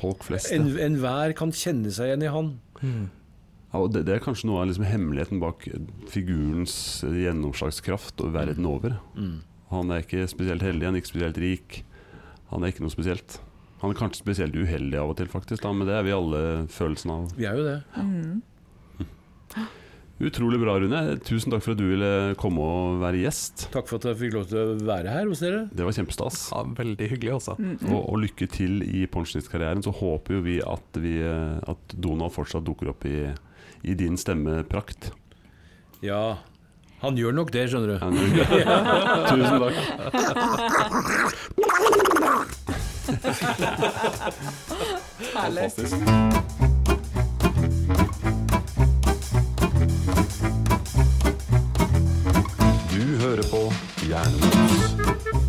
Speaker 1: Folk flest.
Speaker 4: En-
Speaker 1: det.
Speaker 4: Enhver kan kjenne seg igjen i han.
Speaker 1: Ja, og det, det er kanskje noe av liksom hemmeligheten bak figurens gjennomslagskraft og verden over. Han er ikke spesielt heldig, han er ikke spesielt rik. Han er ikke noe spesielt. Han er kanskje spesielt uheldig av og til, faktisk, da, men det er vi alle følelsen av.
Speaker 4: Vi er jo det.
Speaker 1: Utrolig bra, Rune. Tusen takk for at du ville komme og være gjest.
Speaker 4: Takk for at jeg fikk lov til å være her hos dere.
Speaker 1: Det var kjempestas.
Speaker 2: Ja, veldig hyggelig, altså.
Speaker 1: Og, og lykke til i pensjonistkarrieren. Så håper jo vi at, vi eh, at Donald fortsatt dukker opp i, i din stemmeprakt.
Speaker 4: Ja, han gjør nok det, skjønner du.
Speaker 1: Ja, nå- Tusen takk.
Speaker 3: Herlig.
Speaker 1: Fantastisk. Du hører på Jernmos.